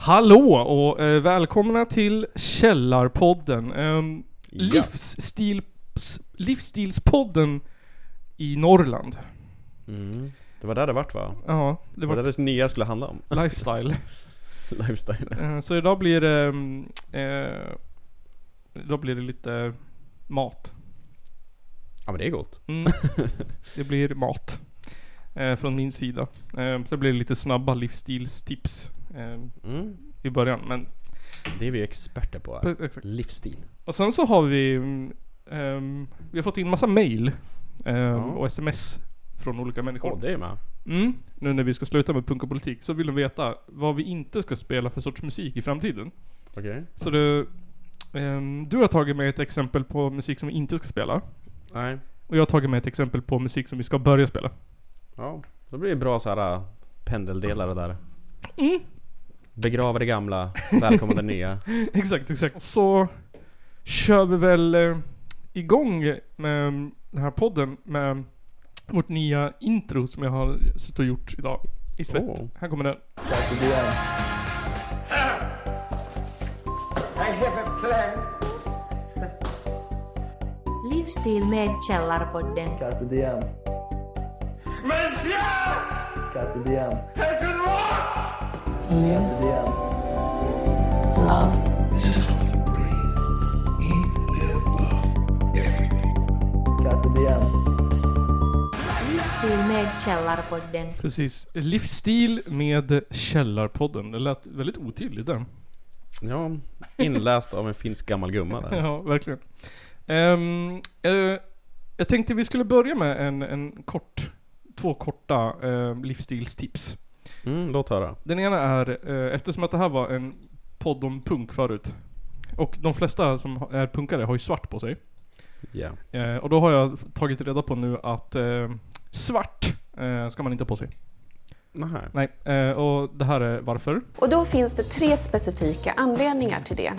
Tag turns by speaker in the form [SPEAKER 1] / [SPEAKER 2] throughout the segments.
[SPEAKER 1] Hallå och eh, välkomna till Källarpodden. Ehm,
[SPEAKER 2] Ja.
[SPEAKER 1] livsstils, livsstilspodden i Norrland.
[SPEAKER 2] Mm. Det var där det vart va?
[SPEAKER 1] Ja, det
[SPEAKER 2] Det var
[SPEAKER 1] var
[SPEAKER 2] där det nya skulle handla om.
[SPEAKER 1] lifestyle.
[SPEAKER 2] Lifestyle.
[SPEAKER 1] Eh, Så idag blir det... mm, Eh, idag blir det lite mat.
[SPEAKER 2] Ja men det är gott.
[SPEAKER 1] Mm. Det blir mat. Eh, från min sida. Eh, så blir det lite snabba livsstilstips eh,
[SPEAKER 2] Mm.
[SPEAKER 1] i början. Men,
[SPEAKER 2] Det är vi experter på här.
[SPEAKER 1] pe- exakt.
[SPEAKER 2] Livsstil.
[SPEAKER 1] Och sen så har vi... mm, ehm, vi har fått in massa mail. ehm, Och sms. Från olika människor.
[SPEAKER 2] Åh, det är med.
[SPEAKER 1] Mm. Nu när vi ska sluta med punk och politik så vill de veta vad vi inte ska spela för sorts musik i framtiden.
[SPEAKER 2] Okej.
[SPEAKER 1] Så du, ehm, du har tagit med ett exempel på musik som vi inte ska spela.
[SPEAKER 2] Nej.
[SPEAKER 1] Och jag har tagit med ett exempel på musik som vi ska börja spela.
[SPEAKER 2] Ja. Då blir det bra så här äh, pendeldelare där.
[SPEAKER 1] Mm.
[SPEAKER 2] Begrava det gamla, välkomna det nya.
[SPEAKER 1] Exakt, exakt. Så kör vi väl eh, igång med mm, den här podden med vårt nya intro som jag har suttit och gjort idag. I svett.
[SPEAKER 2] Åh.
[SPEAKER 1] Här kommer den.
[SPEAKER 3] I have a plan.
[SPEAKER 4] Livsstil med Källarpodden.
[SPEAKER 5] Carpe diem,
[SPEAKER 3] Men jag
[SPEAKER 5] carpe diem,
[SPEAKER 3] är tillbaka!
[SPEAKER 5] carpe diem. Carpe diem,
[SPEAKER 4] Livsstil med Källarpodden.
[SPEAKER 1] Precis. Livsstil med Källarpodden. Det lät väldigt otydligt där.
[SPEAKER 2] Ja. Inläst av en finsk gammal gumma där.
[SPEAKER 1] Ja, verkligen. Ehm, eh, jag tänkte vi skulle börja med en, en kort, två korta ehm, livsstilstips.
[SPEAKER 2] Mm, låt höra.
[SPEAKER 1] Den ena är, eh, eftersom att det här var en podd om punk förut. Och de flesta som ha- är punkare har ju svart på sig.
[SPEAKER 2] Ja.
[SPEAKER 1] Eh, och då har jag f- tagit reda på nu att eh, svart eh, ska man inte ha på sig.
[SPEAKER 2] Nähä.
[SPEAKER 1] Nej, eh, och det här är varför.
[SPEAKER 6] Och då finns det tre specifika anledningar till det.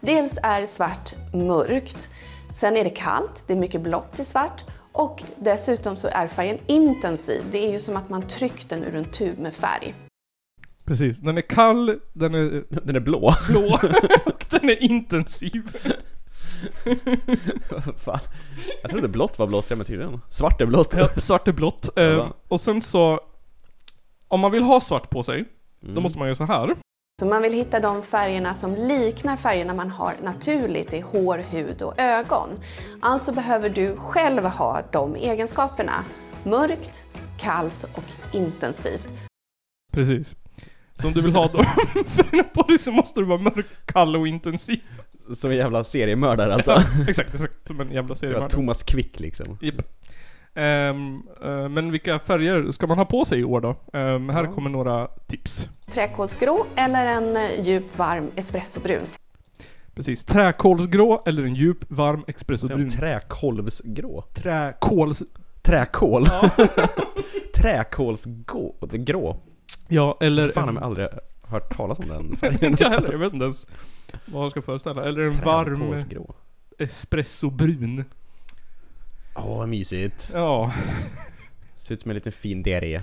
[SPEAKER 6] Dels är svart mörkt, sen är det kallt, det är mycket blått i svart och dessutom så är färgen intensiv. Det är ju som att man tryckt den ur en tub med färg.
[SPEAKER 1] Precis. Den är kall, den är eh,
[SPEAKER 2] Den är blå.
[SPEAKER 1] blå och den är intensiv.
[SPEAKER 2] Fan. Jag trodde blått var blått, ja men tydligen. Svart är blått.
[SPEAKER 1] Ja, svart är blått. Eh,
[SPEAKER 2] Ja.
[SPEAKER 1] och sen så... Om man vill ha svart på sig, då måste man göra så här.
[SPEAKER 6] Så man vill hitta de färgerna som liknar färgerna man har naturligt i hår, hud och ögon. Alltså behöver du själv ha de egenskaperna. Mörkt, kallt och intensivt.
[SPEAKER 1] Precis. Så om du vill ha dem färgerna på dig så måste du vara mörk, kall och intensiv.
[SPEAKER 2] Som en jävla seriemördare alltså.
[SPEAKER 1] Ja, exakt, exakt. Som en jävla
[SPEAKER 2] Det var
[SPEAKER 1] seriemördare.
[SPEAKER 2] Thomas Quick liksom.
[SPEAKER 1] Japp. Ehm, eh, men vilka färger ska man ha på sig i år då? Ehm, här kommer några tips.
[SPEAKER 6] Träkolsgrå eller en eh, djup varm espressobrun.
[SPEAKER 1] Precis. Träkolsgrå eller en djup, varm espressobrun.
[SPEAKER 2] Sen träkolvsgrå.
[SPEAKER 1] Träkols...
[SPEAKER 2] Träkol. Träkolsgrå. Grå.
[SPEAKER 1] Ja, eller...
[SPEAKER 2] Fan har
[SPEAKER 1] en-
[SPEAKER 2] jag aldrig hört talas om den färgen.
[SPEAKER 1] Inte jag heller, jag vet inte ens vad jag ska föreställa. Eller en varm...
[SPEAKER 2] Träkolsgrå.
[SPEAKER 1] espressobrun.
[SPEAKER 2] Åh vad mysigt.
[SPEAKER 1] Ja.
[SPEAKER 2] Ser ut som en liten fin diarré.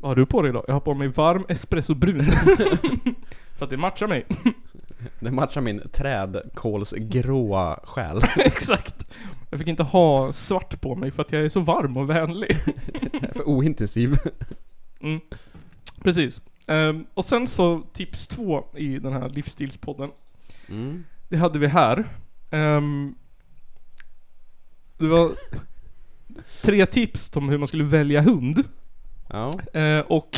[SPEAKER 1] Vad har du på dig idag? Jag har på mig varm espressobrun. För att det matchar mig.
[SPEAKER 2] Det matchar min trädkolsgråa själ.
[SPEAKER 1] Exakt. Jag fick inte ha svart på mig för att jag är så varm och vänlig.
[SPEAKER 2] Jag är För ointensiv.
[SPEAKER 1] Precis. Ehm, och sen så tips två i den här livsstilspodden.
[SPEAKER 2] Mm.
[SPEAKER 1] Det hade vi här. Ehm, det var tre tips om hur man skulle välja hund.
[SPEAKER 2] Ja.
[SPEAKER 1] Eh, och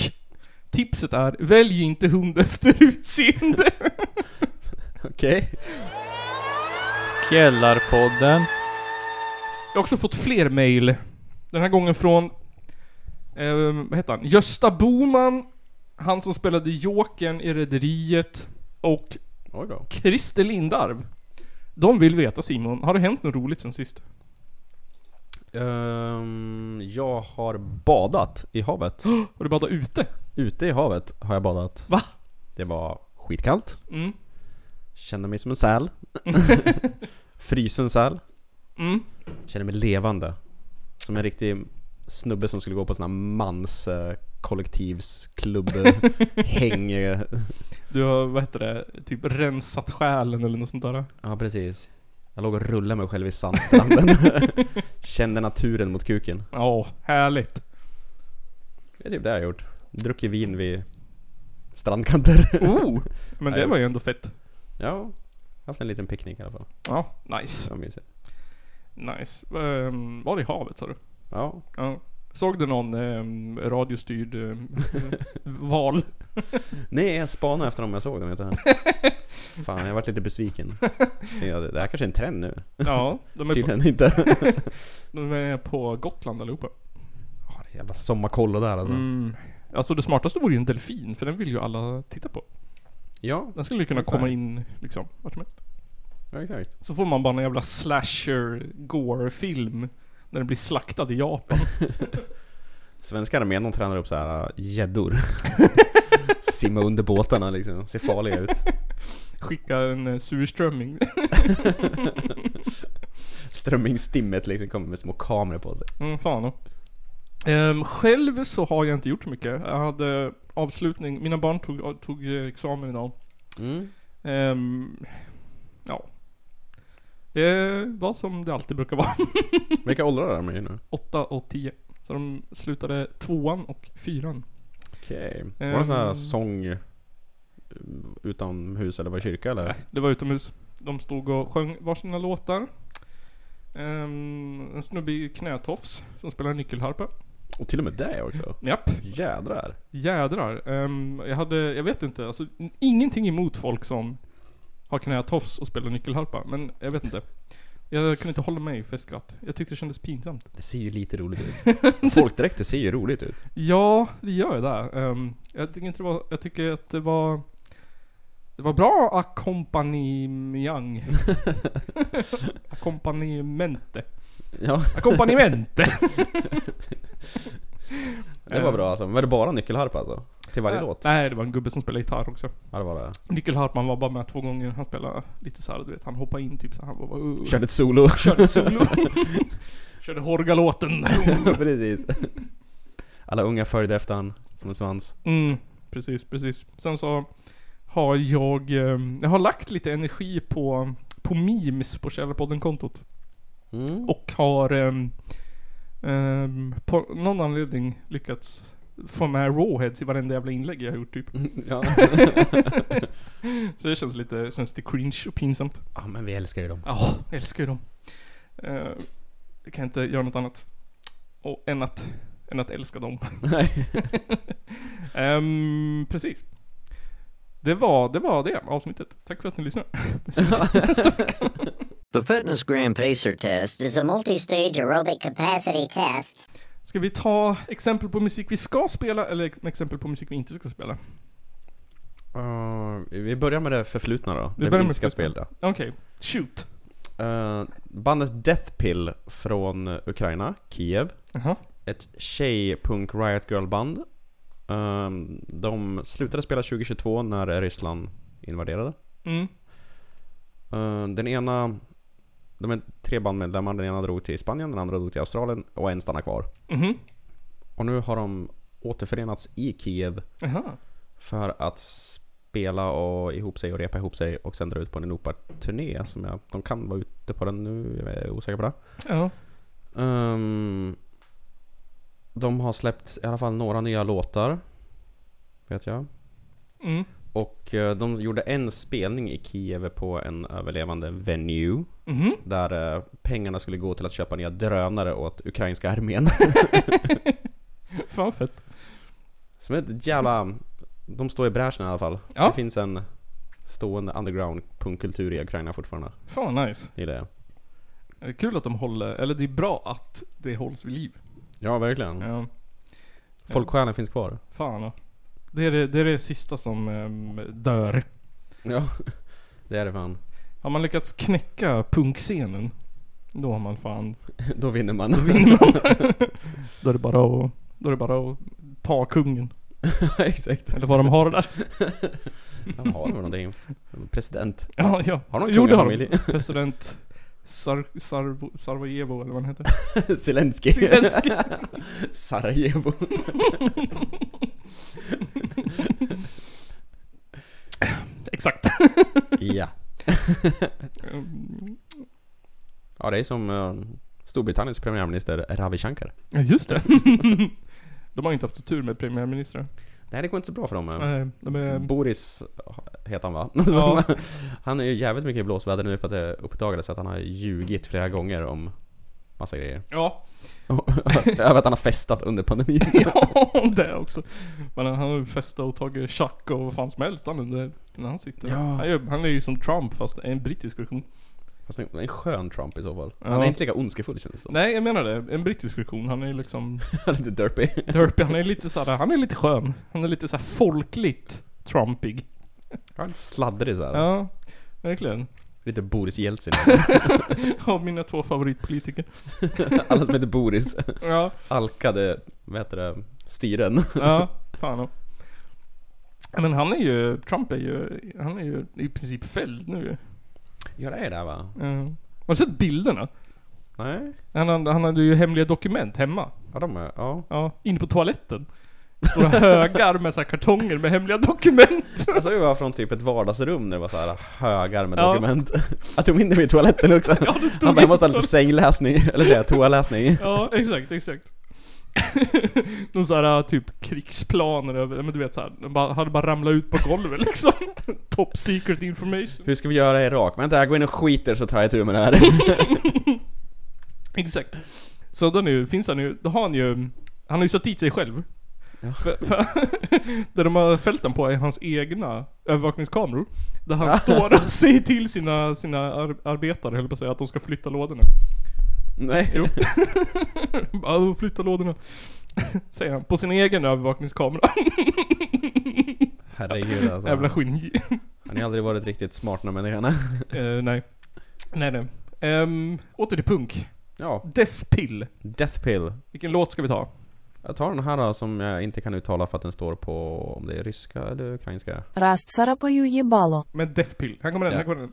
[SPEAKER 1] tipset är välj inte hund efter utseende.
[SPEAKER 2] Okej.
[SPEAKER 7] Källarpodden.
[SPEAKER 1] Jag har också fått fler mejl. Den här gången från, eh, vad heter han? Gösta Boman. Han som spelade Jokern i Rederiet. Och
[SPEAKER 2] Oj då.
[SPEAKER 1] Christer Lindarv. De vill veta Simon, har det hänt något roligt sen sist?
[SPEAKER 2] Ehm, jag har badat i havet.
[SPEAKER 1] Har du badat ute?
[SPEAKER 2] Ute i havet har jag badat.
[SPEAKER 1] Va?
[SPEAKER 2] Det var skitkallt.
[SPEAKER 1] Mm.
[SPEAKER 2] Kände mig som en säl. Frysen säl.
[SPEAKER 1] Mm.
[SPEAKER 2] Kände mig levande. Som en riktig snubbe som skulle gå på såna här mans eh, kollektivsklubb häng. eh,
[SPEAKER 1] Du har, vad heter det, typ rensat själen eller något sånt där.
[SPEAKER 2] Ja, precis. Jag låg och rullade mig själv i sandstranden. Kände naturen mot kuken.
[SPEAKER 1] Ja, härligt.
[SPEAKER 2] Det är typ det jag har gjort. Druckit vin vid strandkanter.
[SPEAKER 1] Oh! Men det
[SPEAKER 2] Nej.
[SPEAKER 1] var ju ändå fett.
[SPEAKER 2] ja, haft en liten picknick i alla fall.
[SPEAKER 1] Ja, nice.
[SPEAKER 2] Det var mysigt.
[SPEAKER 1] Nice. Ehm, var det i havet sa du?
[SPEAKER 2] Ja,
[SPEAKER 1] Ja. Såg du någon ehm, radiostyrd ehm, val?
[SPEAKER 2] Nej, jag spanade efter dem jag såg dem vet du. Fan, jag varit lite besviken. Ja, det det här kanske är en trend nu.
[SPEAKER 1] Ja, de är, på,
[SPEAKER 2] Tydligen inte.
[SPEAKER 1] de är på Gotland allihopa.
[SPEAKER 2] Ja, det är jävla sommarkollo där alltså.
[SPEAKER 1] Mm. Alltså det smartaste vore ju en delfin, för den vill ju alla titta på.
[SPEAKER 2] Ja,
[SPEAKER 1] Den skulle ju kunna
[SPEAKER 2] Exakt.
[SPEAKER 1] komma in liksom, vart som helst.
[SPEAKER 2] ja, exakt.
[SPEAKER 1] Så får man bara en jävla slasher gore-film. När den blir slaktad i Japan.
[SPEAKER 2] Svenska armén de tränar upp så här äh, gäddor. Simma under båtarna liksom, ser farliga ut.
[SPEAKER 1] Skicka en eh, surströmming.
[SPEAKER 2] Strömmingstimmet liksom kommer med små kameror på sig.
[SPEAKER 1] Mm, fan. Ehm, själv så har jag inte gjort så mycket. Jag hade avslutning, mina barn tog, tog eh, examen idag.
[SPEAKER 2] Mm.
[SPEAKER 1] Ehm, ja. Det var som det alltid brukar vara.
[SPEAKER 2] Vilka åldrar är de i nu?
[SPEAKER 1] 8 och 10. Så de slutade tvåan och fyran.
[SPEAKER 2] Okej. Var det sån här
[SPEAKER 1] Ehm.
[SPEAKER 2] sång eh, utomhus eller var det kyrka eller?
[SPEAKER 1] Nej, det var utomhus. De stod och sjöng varsina låtar. Ehm, en snubbe i knätofs som spelar nyckelharpa.
[SPEAKER 2] Och till och med det också?
[SPEAKER 1] Japp.
[SPEAKER 2] Jädrar.
[SPEAKER 1] Jädrar. Ehm, jag hade, jag vet inte, alltså n- ingenting emot folk som har knätofs och spelar nyckelharpa. Men jag vet inte. Jag kunde inte hålla mig för skratt. Jag tyckte det kändes pinsamt.
[SPEAKER 2] Det ser ju lite roligt ut. Folkdräkter ser ju roligt ut.
[SPEAKER 1] Ja, det gör jag där. Ehm, jag, tycker inte det var, jag tycker att det var... Det var bra ackompanjemang. Ackompanjemente.
[SPEAKER 2] Ja,
[SPEAKER 1] Ackompanjemente!
[SPEAKER 2] det var bra alltså. Var det bara nyckelharpa alltså? Till varje låt?
[SPEAKER 1] Nej, det var en gubbe som spelade gitarr också.
[SPEAKER 2] Ja, det var det.
[SPEAKER 1] Nyckelharpan var bara med två gånger. Han spelade lite så här, du vet, han hoppade in typ så här, han bara... Uh,
[SPEAKER 2] Körde ett solo.
[SPEAKER 1] körde solo. körde Horgalåten.
[SPEAKER 2] Precis. Alla unga följde efter han som en svans.
[SPEAKER 1] Mm, precis, precis. Sen så har jag, eh, jag har lagt lite energi på, på memes på Källarpodden-kontot.
[SPEAKER 2] Mm.
[SPEAKER 1] Och har ehm, ehm, på någon anledning lyckats få med rawheads i varenda jävla inlägg jag har gjort typ.
[SPEAKER 2] Ja.
[SPEAKER 1] Så det känns lite, känns lite cringe och pinsamt.
[SPEAKER 2] ja, men vi älskar ju dem.
[SPEAKER 1] Ja, jag älskar ju dem. Eh, jag kan inte göra något annat. Och, än, att, än att älska dem.
[SPEAKER 2] Nej.
[SPEAKER 1] Ehm, precis. Det var, det var det avsnittet. Tack för att ni lyssnade. Vi ses nästa vecka.
[SPEAKER 7] The Fitness Gram Pacer test
[SPEAKER 8] is a multi-stage aerobic capacity test
[SPEAKER 1] Ska vi ta exempel på musik vi ska spela eller ex- exempel på musik vi inte ska spela?
[SPEAKER 2] Uh, vi börjar med det förflutna då.
[SPEAKER 1] Vi börjar
[SPEAKER 2] det vi
[SPEAKER 1] med
[SPEAKER 2] inte ska
[SPEAKER 1] förflutna.
[SPEAKER 2] spela.
[SPEAKER 1] Okej, shoot.
[SPEAKER 2] Eh, bandet Death Pill från Ukraina, Kiev.
[SPEAKER 1] Jaha.
[SPEAKER 2] Ett tjej-punk riot girl-band. Ehm, de slutade spela 2022 när Ryssland invaderade.
[SPEAKER 1] Mm.
[SPEAKER 2] Eh, Den ena... De är tre bandmedlemmar. Den ena drog till Spanien, den andra drog till Australien och en stannar kvar.
[SPEAKER 1] Mhm.
[SPEAKER 2] Och nu har de återförenats i Kiev
[SPEAKER 1] Jaha.
[SPEAKER 2] för att spela och ihop sig och repa ihop sig och sen dra ut på en Europa-turné som jag... De kan vara ute på den nu, jag är osäker på det.
[SPEAKER 1] Ja.
[SPEAKER 2] Ehm, de har släppt i alla fall några nya låtar. Vet jag.
[SPEAKER 1] Mm.
[SPEAKER 2] Och eh, de gjorde en spelning i Kiev på en överlevande venue.
[SPEAKER 1] Mhm.
[SPEAKER 2] Där eh, pengarna skulle gå till att köpa nya drönare åt ukrainska armén.
[SPEAKER 1] Fan fett.
[SPEAKER 2] Som ett jävla... De står i bräschen i alla fall.
[SPEAKER 1] Ja.
[SPEAKER 2] Det finns en stående underground punkkultur i Ukraina fortfarande.
[SPEAKER 1] Fan nice.
[SPEAKER 2] I det.
[SPEAKER 1] Eh, Kul att de håller, eller det är bra att det hålls vid liv.
[SPEAKER 2] Ja, verkligen.
[SPEAKER 1] Ja.
[SPEAKER 2] Folksjälen finns kvar.
[SPEAKER 1] Fan. ja. Det är det, det är det sista som ehm, dör.
[SPEAKER 2] Ja, det är det fan.
[SPEAKER 1] Har man lyckats knäcka punkscenen, då har man fan
[SPEAKER 2] Då vinner man.
[SPEAKER 1] Då är det bara att, då är det bara att ta kungen.
[SPEAKER 2] Exakt.
[SPEAKER 1] Eller vad de har där.
[SPEAKER 2] De har väl någonting. President.
[SPEAKER 1] Ja, ja.
[SPEAKER 2] Har de
[SPEAKER 1] Jo, det har
[SPEAKER 2] kungafamilj?
[SPEAKER 1] President Sar, Sarbo, Sarvojevo eller vad han heter.
[SPEAKER 2] Zelensky.
[SPEAKER 1] Zelensky.
[SPEAKER 2] Sarajevo.
[SPEAKER 1] Exakt.
[SPEAKER 2] ja. Ja, det är som eh, Storbritanniens premiärminister Ravi Shankar.
[SPEAKER 1] Ja, just det. De har ju inte haft så tur med premiärministrar.
[SPEAKER 2] Nej, det går inte så bra för dem. eh.
[SPEAKER 1] Nej, De är...
[SPEAKER 2] Boris eh, heter han va?
[SPEAKER 1] Mm. Ja.
[SPEAKER 2] han är ju jävligt mycket i blåsväder nu för att det uppdagades att han har ljugit flera gånger om massa grejer.
[SPEAKER 1] Ja,
[SPEAKER 2] Över att han har festat under pandemin.
[SPEAKER 1] ja det också. Men han har ju festat och tagit tjack och vad fan som helst han under när han sitter.
[SPEAKER 2] Ja.
[SPEAKER 1] Han, gör, han är ju som Trump fast en brittisk version.
[SPEAKER 2] Fast en, en skön Trump i så fall. Han
[SPEAKER 1] Ja.
[SPEAKER 2] är inte lika ondskefull känns det som.
[SPEAKER 1] Nej jag menar det, en brittisk version. Han är ju liksom
[SPEAKER 2] Han är lite derpy.
[SPEAKER 1] derpy, han är lite såhär, han är lite skön. Han är lite såhär folkligt Trumpig.
[SPEAKER 2] Han är sladdrig såhär.
[SPEAKER 1] Ja, verkligen.
[SPEAKER 2] Lite Boris Jeltsin.
[SPEAKER 1] Av mina två favoritpolitiker.
[SPEAKER 2] Alla som heter Boris
[SPEAKER 1] Ja,
[SPEAKER 2] alkade, vad heter det, styren.
[SPEAKER 1] ja, fan och. Men han är ju, Trump är ju, han är ju i princip fälld nu ju.
[SPEAKER 2] Ja det är det va?
[SPEAKER 1] Ja. Har du sett bilderna?
[SPEAKER 2] Nej?
[SPEAKER 1] Han, hade- han hade ju hemliga dokument hemma.
[SPEAKER 2] Ja de är, ja.
[SPEAKER 1] Ja, inne på toaletten. Stora högar med så här kartonger med hemliga dokument.
[SPEAKER 2] Alltså vi var från typ ett vardagsrum när det var så här högar med
[SPEAKER 1] Ja.
[SPEAKER 2] dokument. Att de inte vid toaletten också.
[SPEAKER 1] Ja, det stod
[SPEAKER 2] Han bara, jag måste ha
[SPEAKER 1] in-
[SPEAKER 2] lite sängläsning, eller säga toaläsning.
[SPEAKER 1] Ja, exakt, exakt. Någon sån här typ krigsplaner över, ja, men du vet såhär, de bara, hade bara ramlat ut på golvet liksom. Top secret information.
[SPEAKER 2] Hur ska vi göra i Irak? Vänta, jag går in och skiter så tar jag tur med det här.
[SPEAKER 1] Exakt. Så då nu, finns han ju, då har han ju, han har ju satt dit sig själv. För, för, det de har fällt den på är hans egna övervakningskameror. Där han står och säger till sina, sina ar- arbetare, höll jag på att säga, att de ska flytta lådorna.
[SPEAKER 2] Nej.
[SPEAKER 1] Jo. Bara, "Åh, flytta lådorna. Säger han, på sin egen övervakningskamera.
[SPEAKER 2] Herregud alltså.
[SPEAKER 1] Jävla skinn.
[SPEAKER 2] Han har aldrig varit riktigt smart den här människan.
[SPEAKER 1] Eh, nej. Nej, nej. Ehm, åter till punk.
[SPEAKER 2] Ja,
[SPEAKER 1] Death Pill.
[SPEAKER 2] Death Pill.
[SPEAKER 1] Vilken låt ska vi ta?
[SPEAKER 2] Jag tar den här då, som jag inte kan uttala för att den står på om det är ryska eller ukrainska.
[SPEAKER 9] Раст царапаю ебало.
[SPEAKER 1] Men Death Pill. Här kommer den,
[SPEAKER 2] Ja.
[SPEAKER 1] här kommer den.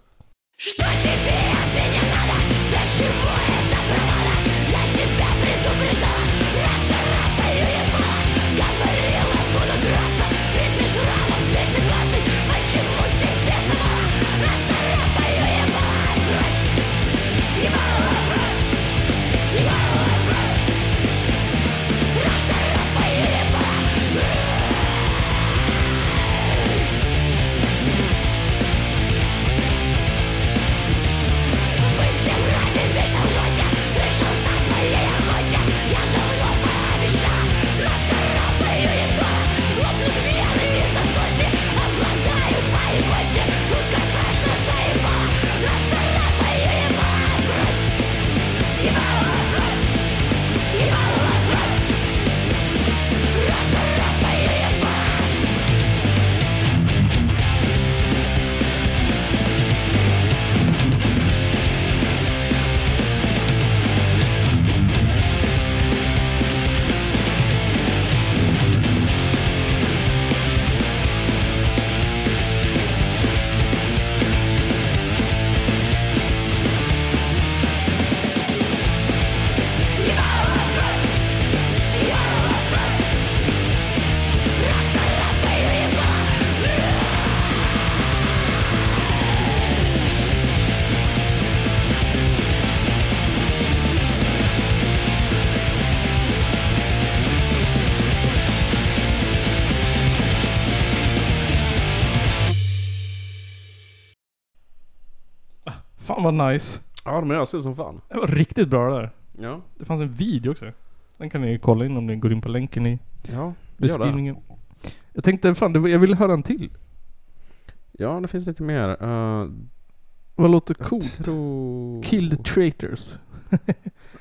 [SPEAKER 1] Fan vad nice.
[SPEAKER 2] Ja, de är ösiga som fan.
[SPEAKER 1] Det var riktigt bra det där.
[SPEAKER 2] Ja.
[SPEAKER 1] Det fanns en video också. Den kan ni ju kolla in om ni går in på länken i
[SPEAKER 2] Ja.
[SPEAKER 1] beskrivningen. Jag tänkte fan, det var, jag ville höra en till.
[SPEAKER 2] Ja, det finns lite mer. Eh,
[SPEAKER 1] Vad låter cool?
[SPEAKER 2] jag tror...
[SPEAKER 1] Kill the traitors.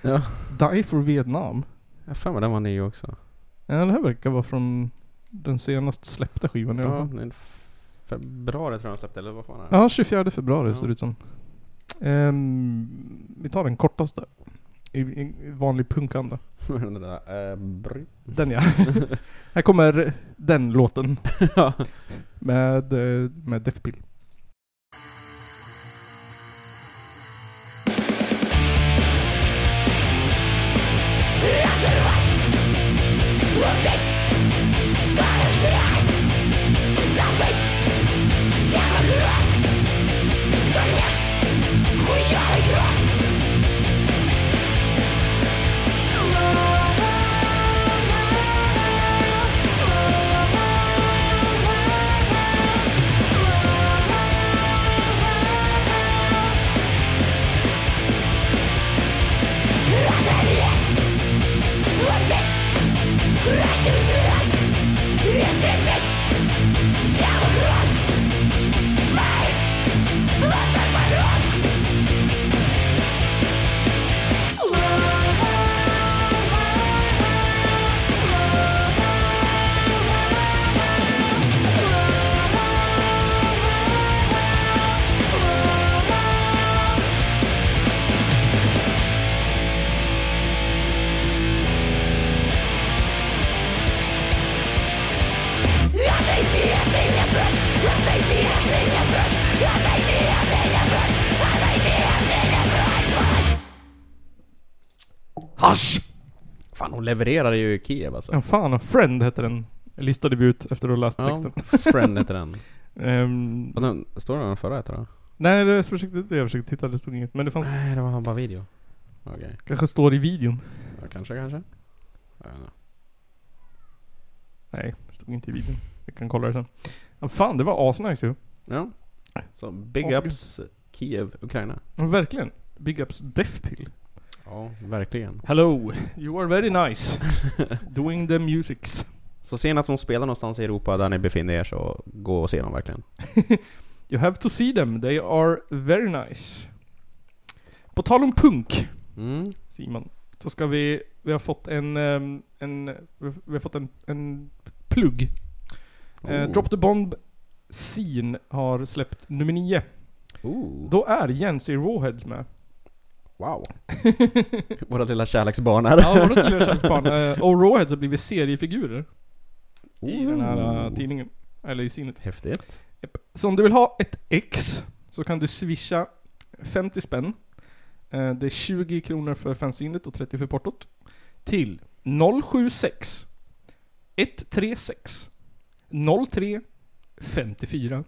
[SPEAKER 2] Ja.
[SPEAKER 1] Die for Vietnam.
[SPEAKER 2] Jag har för mig den var ny också.
[SPEAKER 1] Ja, den här verkar vara från den senast släppta skivan i alla
[SPEAKER 2] Ja,
[SPEAKER 1] fall.
[SPEAKER 2] den februari tror jag de släppte, eller vad fan är det?
[SPEAKER 1] Ja, 24 februari
[SPEAKER 2] Ja.
[SPEAKER 1] ser det ut som. Ehm, vi tar den kortaste. I, i vanlig punkanda.
[SPEAKER 2] den där, eh, bry-
[SPEAKER 1] Den ja. här kommer den låten. med, eh, med Death Pill.
[SPEAKER 2] Hasch! Fan, hon levererade ju i Kiev alltså.
[SPEAKER 1] Ja, fan. Friend heter den. Jag listade vi ut efter att ha läst texten.
[SPEAKER 2] Friend heter den.
[SPEAKER 1] Ehm,
[SPEAKER 2] Och den står det den förra heter då?
[SPEAKER 1] nej, det jag försökte, jag försökte titta. Det stod inget. Men det fanns...
[SPEAKER 2] Nej, det var bara video. Okej.
[SPEAKER 1] Kanske står i videon.
[SPEAKER 2] Ja, kanske, kanske. Jag vet inte.
[SPEAKER 1] Nej, det stod inte i videon. Jag kan kolla det sen. Ja, fan, det var asnice ju.
[SPEAKER 2] Ja. Så big
[SPEAKER 1] Asgrymt.
[SPEAKER 2] ups Kiev, Ukraina.
[SPEAKER 1] Ja, verkligen. Big ups Death Pill.
[SPEAKER 2] Ja, verkligen.
[SPEAKER 1] Hello, you are very nice. Doing the musics.
[SPEAKER 2] Så ser ni att de spelar någonstans i Europa där ni befinner er så gå och se dem verkligen.
[SPEAKER 1] You have to see them, they are very nice. På tal om punk,
[SPEAKER 2] Mm.
[SPEAKER 1] Simon, så ska vi... Vi har fått en... ehm, en vi har fått en, en plugg. Eh,
[SPEAKER 2] Oh.
[SPEAKER 1] Drop the Bomb Scene har släppt nummer 9.
[SPEAKER 2] Oh.
[SPEAKER 1] Då är Jensi Rawheads med.
[SPEAKER 2] Wow. Våra lilla kärleksbarn här.
[SPEAKER 1] Ja, våra tydliga kärleksbarn. Eh, Och Rawheads har blivit seriefigurer i den här eh,
[SPEAKER 2] Oh.
[SPEAKER 1] tidningen. Eller i scenet.
[SPEAKER 2] Häftigt.
[SPEAKER 1] Japp. Så om du vill ha ett ex så kan du swisha 50 spänn. Eh, Det är 20 kronor för fanzinet och 30 för portot. Till 076 136 03 54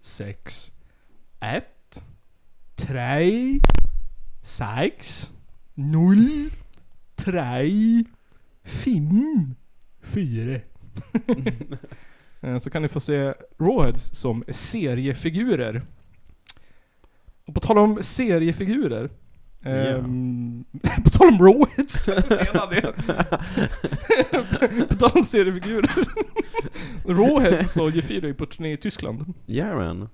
[SPEAKER 1] 076 1 3 6 0 3 5 4 Eh, Så kan ni få se Rawheads som seriefigurer. Och på tal om seriefigurer. ehm, på tal om Rawheads. jag menar det. på tal om seriefigurer. Rawheads och G4 är på turné i Tyskland.
[SPEAKER 2] Jajamän.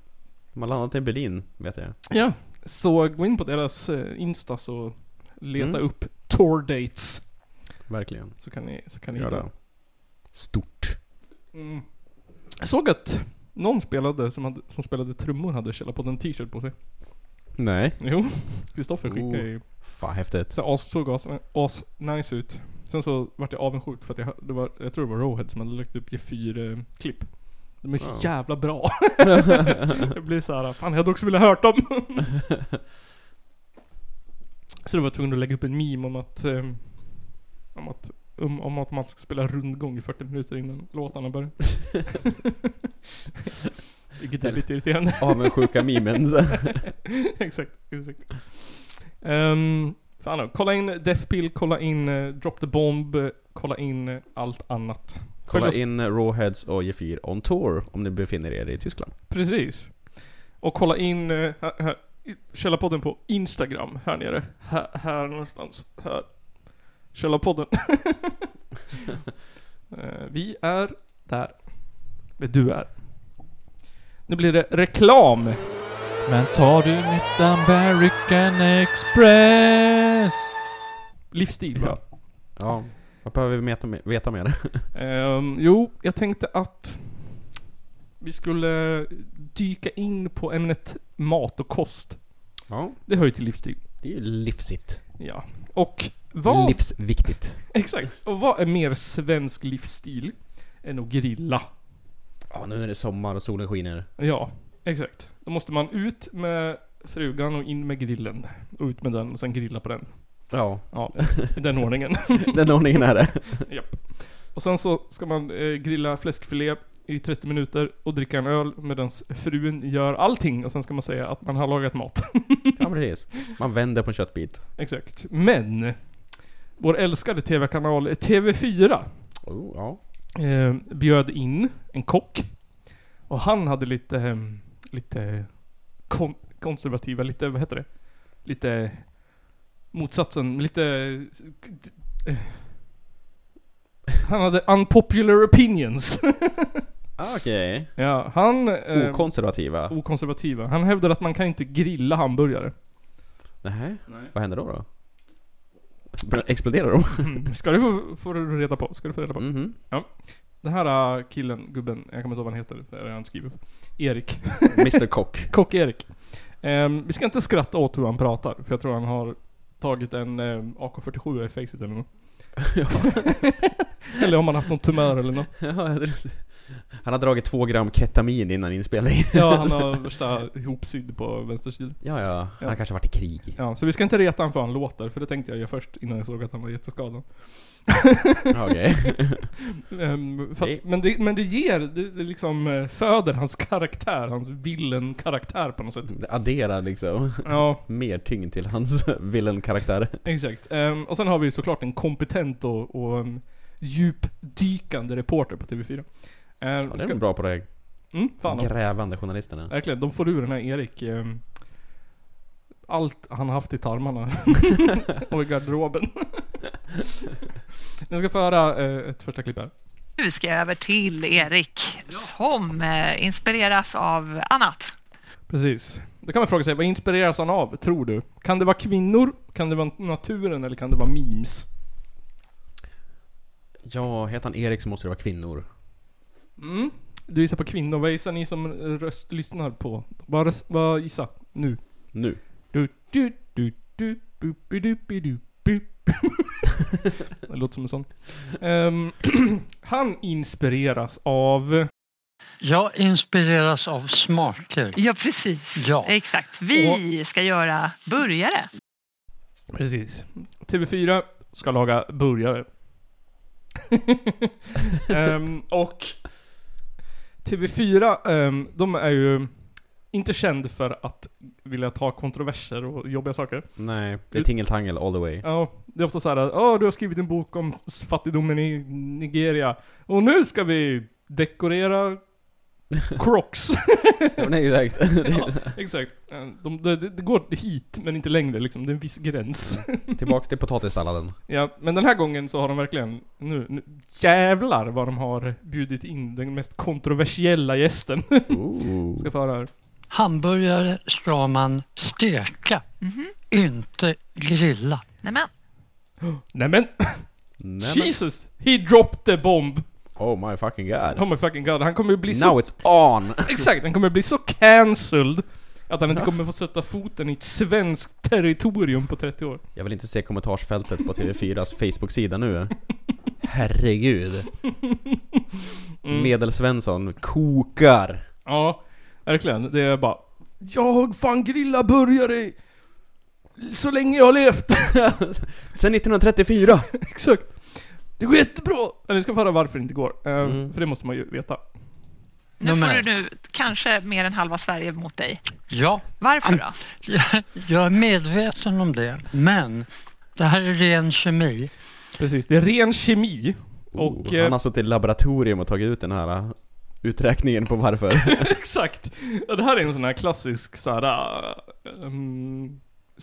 [SPEAKER 2] De har landat i Berlin, vet jag.
[SPEAKER 1] Ja. Så gå in på deras eh, Instas och leta
[SPEAKER 2] Mm.
[SPEAKER 1] upp tour dates.
[SPEAKER 2] Verkligen.
[SPEAKER 1] Så kan ni, så kan ni
[SPEAKER 2] Gör
[SPEAKER 1] hitta.
[SPEAKER 2] det. Stort.
[SPEAKER 1] Mm. Jag såg att någon spelade som, hade, som spelade trummor hade Källarpodden t-shirt på sig.
[SPEAKER 2] Nej.
[SPEAKER 1] Jo, Kristoffer skickade
[SPEAKER 2] Oh.
[SPEAKER 1] ju.
[SPEAKER 2] Fan häftigt.
[SPEAKER 1] Så as, såg as, as nice ut. Sen så vart jag avundsjuk för att jag, hö- det var, jag tror det var Rohead som hade lagt upp G4-klipp. De är så
[SPEAKER 2] Ja.
[SPEAKER 1] jävla bra. jag blir såhär, fan jag hade också velat hört dem. så då var jag tvungen att lägga upp en meme om att, eh, om att om, om att man ska spela rundgång i 40 minuter innan låtarna börjar. Vilket är lite irriterande.
[SPEAKER 2] Avundsjuka mimen. så.
[SPEAKER 1] exakt, exakt. Um, fan då, kolla in Death Pill, kolla in eh, Drop the Bomb, eh, kolla in eh, allt annat.
[SPEAKER 2] Kolla
[SPEAKER 1] oss-
[SPEAKER 2] in Rawheads och G4 on tour om ni befinner er i Tyskland.
[SPEAKER 1] Precis. Och kolla in eh, här, här, i- Källarpodden på Instagram här nere. Här, här någonstans. Här. Källarpodden. Eh, Vi är där. Men du är. Nu blir det reklam.
[SPEAKER 10] Men tar du mitt American Express?
[SPEAKER 1] Livsstil va?
[SPEAKER 2] Ja. Ja. Vad behöver vi veta, veta mer?
[SPEAKER 1] Ehm, jo, jag tänkte att vi skulle dyka in på ämnet mat och kost.
[SPEAKER 2] Ja.
[SPEAKER 1] Det hör ju till livsstil.
[SPEAKER 2] Det är ju livsigt.
[SPEAKER 1] Ja. Och vad...
[SPEAKER 2] Livsviktigt.
[SPEAKER 1] exakt. Och vad är mer svensk livsstil än att grilla?
[SPEAKER 2] Ja, nu är det sommar och solen skiner.
[SPEAKER 1] Ja, exakt. Då måste man ut med frugan och in med grillen. Och ut med den och sen grilla på den.
[SPEAKER 2] Ja,
[SPEAKER 1] Ja, i den ordningen.
[SPEAKER 2] den ordningen är det.
[SPEAKER 1] Japp. Och sen så ska man eh, grilla fläskfilé i 30 minuter och dricka en öl medan frun gör allting och sen ska man säga att man har lagat mat.
[SPEAKER 2] Ja, precis. Man vänder på en köttbit.
[SPEAKER 1] Exakt. Men! Vår älskade TV-kanal TV4
[SPEAKER 2] Oh, ja.
[SPEAKER 1] eh, bjöd in en kock. Och han hade lite, eh, lite kon- konservativa, lite, vad heter det? Lite motsatsen, lite... eh, Han hade unpopular opinions.
[SPEAKER 2] Okej.
[SPEAKER 1] Ja, han...
[SPEAKER 2] Ehm,
[SPEAKER 1] Eh,
[SPEAKER 2] Okonservativa.
[SPEAKER 1] okonservativa. Han hävdar att man kan inte grilla hamburgare.
[SPEAKER 2] Nähä? Vad händer då då? Bör- Exploderar de?
[SPEAKER 1] Ska du få, få reda på? Ska du få reda på?
[SPEAKER 2] Mhm.
[SPEAKER 1] Den här äh, killen, gubben, jag kommer inte ihåg vad han heter, det har jag inte skrivit. Erik.
[SPEAKER 2] Mr Kock.
[SPEAKER 1] Kock-Erik. Ehm, vi ska inte skratta åt hur han pratar, för jag tror han har tagit en ehm, AK47 i facet eller något. eller om han haft någon tumör eller något.
[SPEAKER 2] Ja, det- Han har dragit två gram ketamin innan inspelningen.
[SPEAKER 1] Ja, han har värsta ihopsydd på vänstersidan.
[SPEAKER 2] Ja, ja. Han har
[SPEAKER 1] Ja.
[SPEAKER 2] kanske varit i krig.
[SPEAKER 1] Ja, så vi ska inte reta han för han låter, för det tänkte jag göra först innan jag såg att han var jätteskadad.
[SPEAKER 2] Ja, Okej.
[SPEAKER 1] Ehm, för att,
[SPEAKER 2] Det-
[SPEAKER 1] men, det, men det ger, det, det liksom eh, föder hans karaktär, hans villen-karaktär på något sätt.
[SPEAKER 2] Det adderar liksom
[SPEAKER 1] Ja,
[SPEAKER 2] mer tyngd till hans villain-karaktär.
[SPEAKER 1] exakt. Ehm, och sen har vi ju såklart en kompetent och, och um, djupdykande reporter på TV4. Um,
[SPEAKER 2] Ja, det är bra på det här
[SPEAKER 1] mm, fan, de-
[SPEAKER 2] grävande journalisterna.
[SPEAKER 1] verkligen. De får ur den här Erik ehm, allt han har haft i tarmarna och i garderoben. Ni ska få höra eh, ett första klipp här.
[SPEAKER 11] Nu ska jag över till Erik som eh, inspireras av annat.
[SPEAKER 1] Precis. Då kan man fråga sig, vad inspireras han av, tror du? Kan det vara kvinnor? Kan det vara naturen? Eller kan det vara memes?
[SPEAKER 2] Ja, heter han Erik så måste det vara kvinnor.
[SPEAKER 1] Mm. Du gissar på kvinnor. Vad gissar ni som röst lyssnar på? Vad, röst, vad gissa nu?
[SPEAKER 2] Nu.
[SPEAKER 1] Du, du, du, du, bu, bu, du, bu, du, bu. Det låter som en sån. Ehm, han inspireras av...
[SPEAKER 12] Jag inspireras av smaker.
[SPEAKER 11] Ja, precis.
[SPEAKER 12] Ja.
[SPEAKER 11] Exakt. Vi ska göra burgare.
[SPEAKER 1] Precis. TV4 ska laga burgare. Ehm, och TV4, ehm, de är ju inte känd för att vilja ta kontroverser och jobbiga saker.
[SPEAKER 2] Nej, det är tingeltangel all the way.
[SPEAKER 1] Ja, det är ofta så här att "Åh, du har skrivit en bok om s- fattigdomen i Nigeria. Och nu ska vi dekorera Crocs.
[SPEAKER 2] Ja, Nej, exakt.
[SPEAKER 1] ja, exakt. Ehm, De, det, det det går hit, men inte längre liksom. Det är en viss gräns.
[SPEAKER 2] Tillbaks till potatissalladen.
[SPEAKER 1] Ja, men den här gången så har de verkligen, nu, nu jävlar vad de har bjudit in den mest kontroversiella gästen.
[SPEAKER 2] Ooh.
[SPEAKER 1] Ska få höra här.
[SPEAKER 12] Hamburgare ska man steka, Mm-hmm. inte grilla.
[SPEAKER 11] Nämen.
[SPEAKER 1] Nämen,
[SPEAKER 2] Nej, men-
[SPEAKER 1] Jesus! He dropped the bomb!
[SPEAKER 2] Oh my fucking
[SPEAKER 1] Oh
[SPEAKER 2] god.
[SPEAKER 1] my fucking god, han kommer ju bli så...
[SPEAKER 2] Now it's on!
[SPEAKER 1] Exakt, han kommer bli så cancelled att han inte kommer få sätta foten i ett svenskt territorium på 30 år.
[SPEAKER 2] Jag vill inte se kommentarsfältet på TV4s Facebook-sida nu. Herregud.
[SPEAKER 1] Mm.
[SPEAKER 2] Medelsvensson kokar.
[SPEAKER 1] Ja, verkligen. Det är bara... Jag har fan grillat burgare i- så länge jag har levt!
[SPEAKER 2] Sen 1934!
[SPEAKER 1] Exakt. Det går jättebra! Eller ni ska få höra varför det inte går. Eh,
[SPEAKER 2] Mm.
[SPEAKER 1] För det måste man ju veta.
[SPEAKER 11] Nu
[SPEAKER 12] Nummer
[SPEAKER 11] får du
[SPEAKER 12] ett.
[SPEAKER 11] nu kanske mer än halva Sverige mot dig.
[SPEAKER 12] Ja,
[SPEAKER 11] Varför då?
[SPEAKER 12] jag är medveten om det, men det här är ren kemi.
[SPEAKER 1] Precis, det är ren kemi. Och...
[SPEAKER 2] Oh,
[SPEAKER 1] eh,
[SPEAKER 2] han har suttit i laboratorium och tagit ut den här eh, uträkningen på varför.
[SPEAKER 1] eh, Exakt! Ja, det här är en sån här klassisk så här, eh, ehm,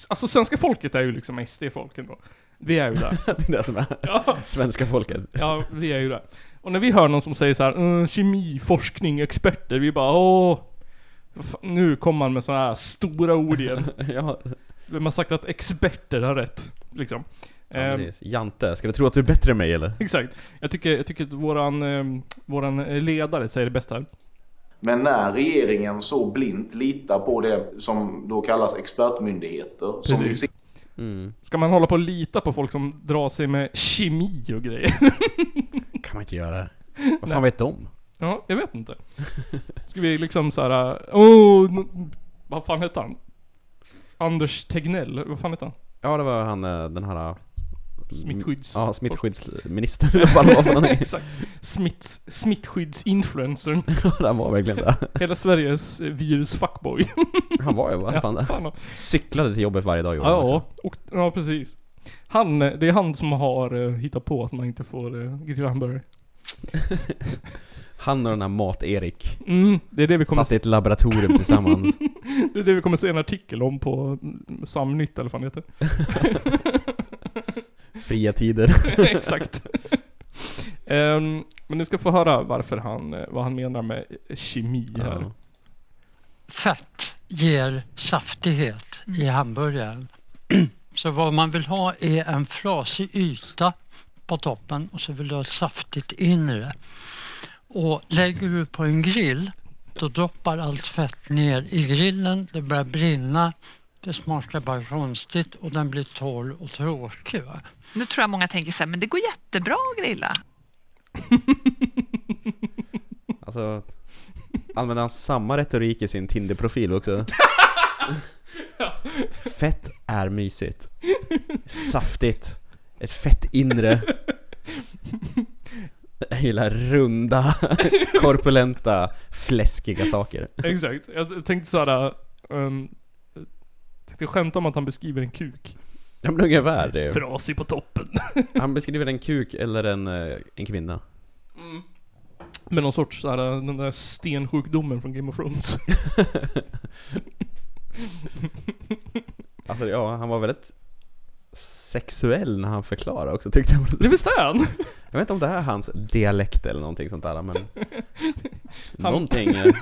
[SPEAKER 1] Alltså svenska folket är ju liksom SD-folk ändå. Vi är ju där.
[SPEAKER 2] det är det som är
[SPEAKER 1] ja,
[SPEAKER 2] svenska folket.
[SPEAKER 1] ja, vi är ju där. Och när vi hör någon som säger så här, "Eh, kemi, forskning, experter, vi bara åh. vad fan, Nu kommer han med såna här stora ord igen.
[SPEAKER 2] ja,
[SPEAKER 1] Vem har sagt att experter har rätt? Liksom.
[SPEAKER 2] ja,
[SPEAKER 1] Ehm,
[SPEAKER 2] precis. Jante, ska du tro att du är bättre än mig eller?
[SPEAKER 1] Exakt. Jag tycker, jag tycker att våran, eh, våran ledare säger det bästa här.
[SPEAKER 13] Men när regeringen så blint litar på det som då kallas expertmyndigheter som vi
[SPEAKER 1] Precis.
[SPEAKER 13] ser
[SPEAKER 2] Mm.
[SPEAKER 1] Ska man hålla på och lita på folk som drar sig med kemi och grejer?
[SPEAKER 2] Kan man inte göra. Vad
[SPEAKER 1] Nej.
[SPEAKER 2] fan vet de?
[SPEAKER 1] ja, jag vet inte. Ska vi liksom såhär... Åh, n- vad fan hette han? Anders Tegnell, vad fan hette han?
[SPEAKER 2] Ja, det var han eh, den här... eh,
[SPEAKER 1] Smittskydds...
[SPEAKER 2] Ja, smittskyddsministern eller vad det var för någonting.
[SPEAKER 1] Exakt. Smitts, smittskyddsinfluencern.
[SPEAKER 2] han var verkligen det.
[SPEAKER 1] Hela Sveriges eh, virusfuckboy.
[SPEAKER 2] Han var ju vad fan
[SPEAKER 1] Ja,
[SPEAKER 2] det.
[SPEAKER 1] fan och-
[SPEAKER 2] Cyklade till jobbet varje dag gjorde han
[SPEAKER 1] Ja,
[SPEAKER 2] också.
[SPEAKER 1] och, ja precis. Han, eh, det är han som har eh, hittat på att man inte får eh, grilla hamburgare.
[SPEAKER 2] Han och den här Mat-Erik
[SPEAKER 1] Mm, det är det vi kommer
[SPEAKER 2] satt i ett laboratorium tillsammans.
[SPEAKER 1] Det är det vi kommer se en artikel om på mm, Samnytt eller vad fan det
[SPEAKER 2] Fria tider.
[SPEAKER 1] heter. Exakt. Ehm, men ni ska få höra varför han, eh, vad han menar med kemi här.
[SPEAKER 2] Ja.
[SPEAKER 12] Fett ger saftighet i hamburgaren. Så vad man vill ha är en frasig yta på toppen och så vill du ha ett saftigt inre. Och lägger du på en grill, då droppar allt fett ner i grillen, det börjar brinna, det smakar bara konstigt och den blir torr och tråkig. Va?
[SPEAKER 11] Nu tror jag många tänker så här, men det går jättebra att grilla.
[SPEAKER 2] Alltså, använder han samma retorik i sin Tinder-profil också? Fett är mysigt. Saftigt. Ett fett inre. Jag gillar runda, korpulenta, fläskiga saker.
[SPEAKER 1] Exakt. Jag tänkte såhär... Um, tänkte skämta om att han beskriver en kuk.
[SPEAKER 2] Ja men ungefär det.
[SPEAKER 1] Frasig på toppen.
[SPEAKER 2] Han beskriver en kuk eller en, eh, en kvinna. Mm.
[SPEAKER 1] Med någon sorts såhär, den där stensjukdomen från Game of Thrones.
[SPEAKER 2] Alltså ja, han var väldigt sexuell när han förklarade också tyckte jag.
[SPEAKER 1] Det visste han!
[SPEAKER 2] Jag vet inte om det här är hans dialekt eller någonting sånt där men...
[SPEAKER 1] Han-
[SPEAKER 2] Någonting... eh,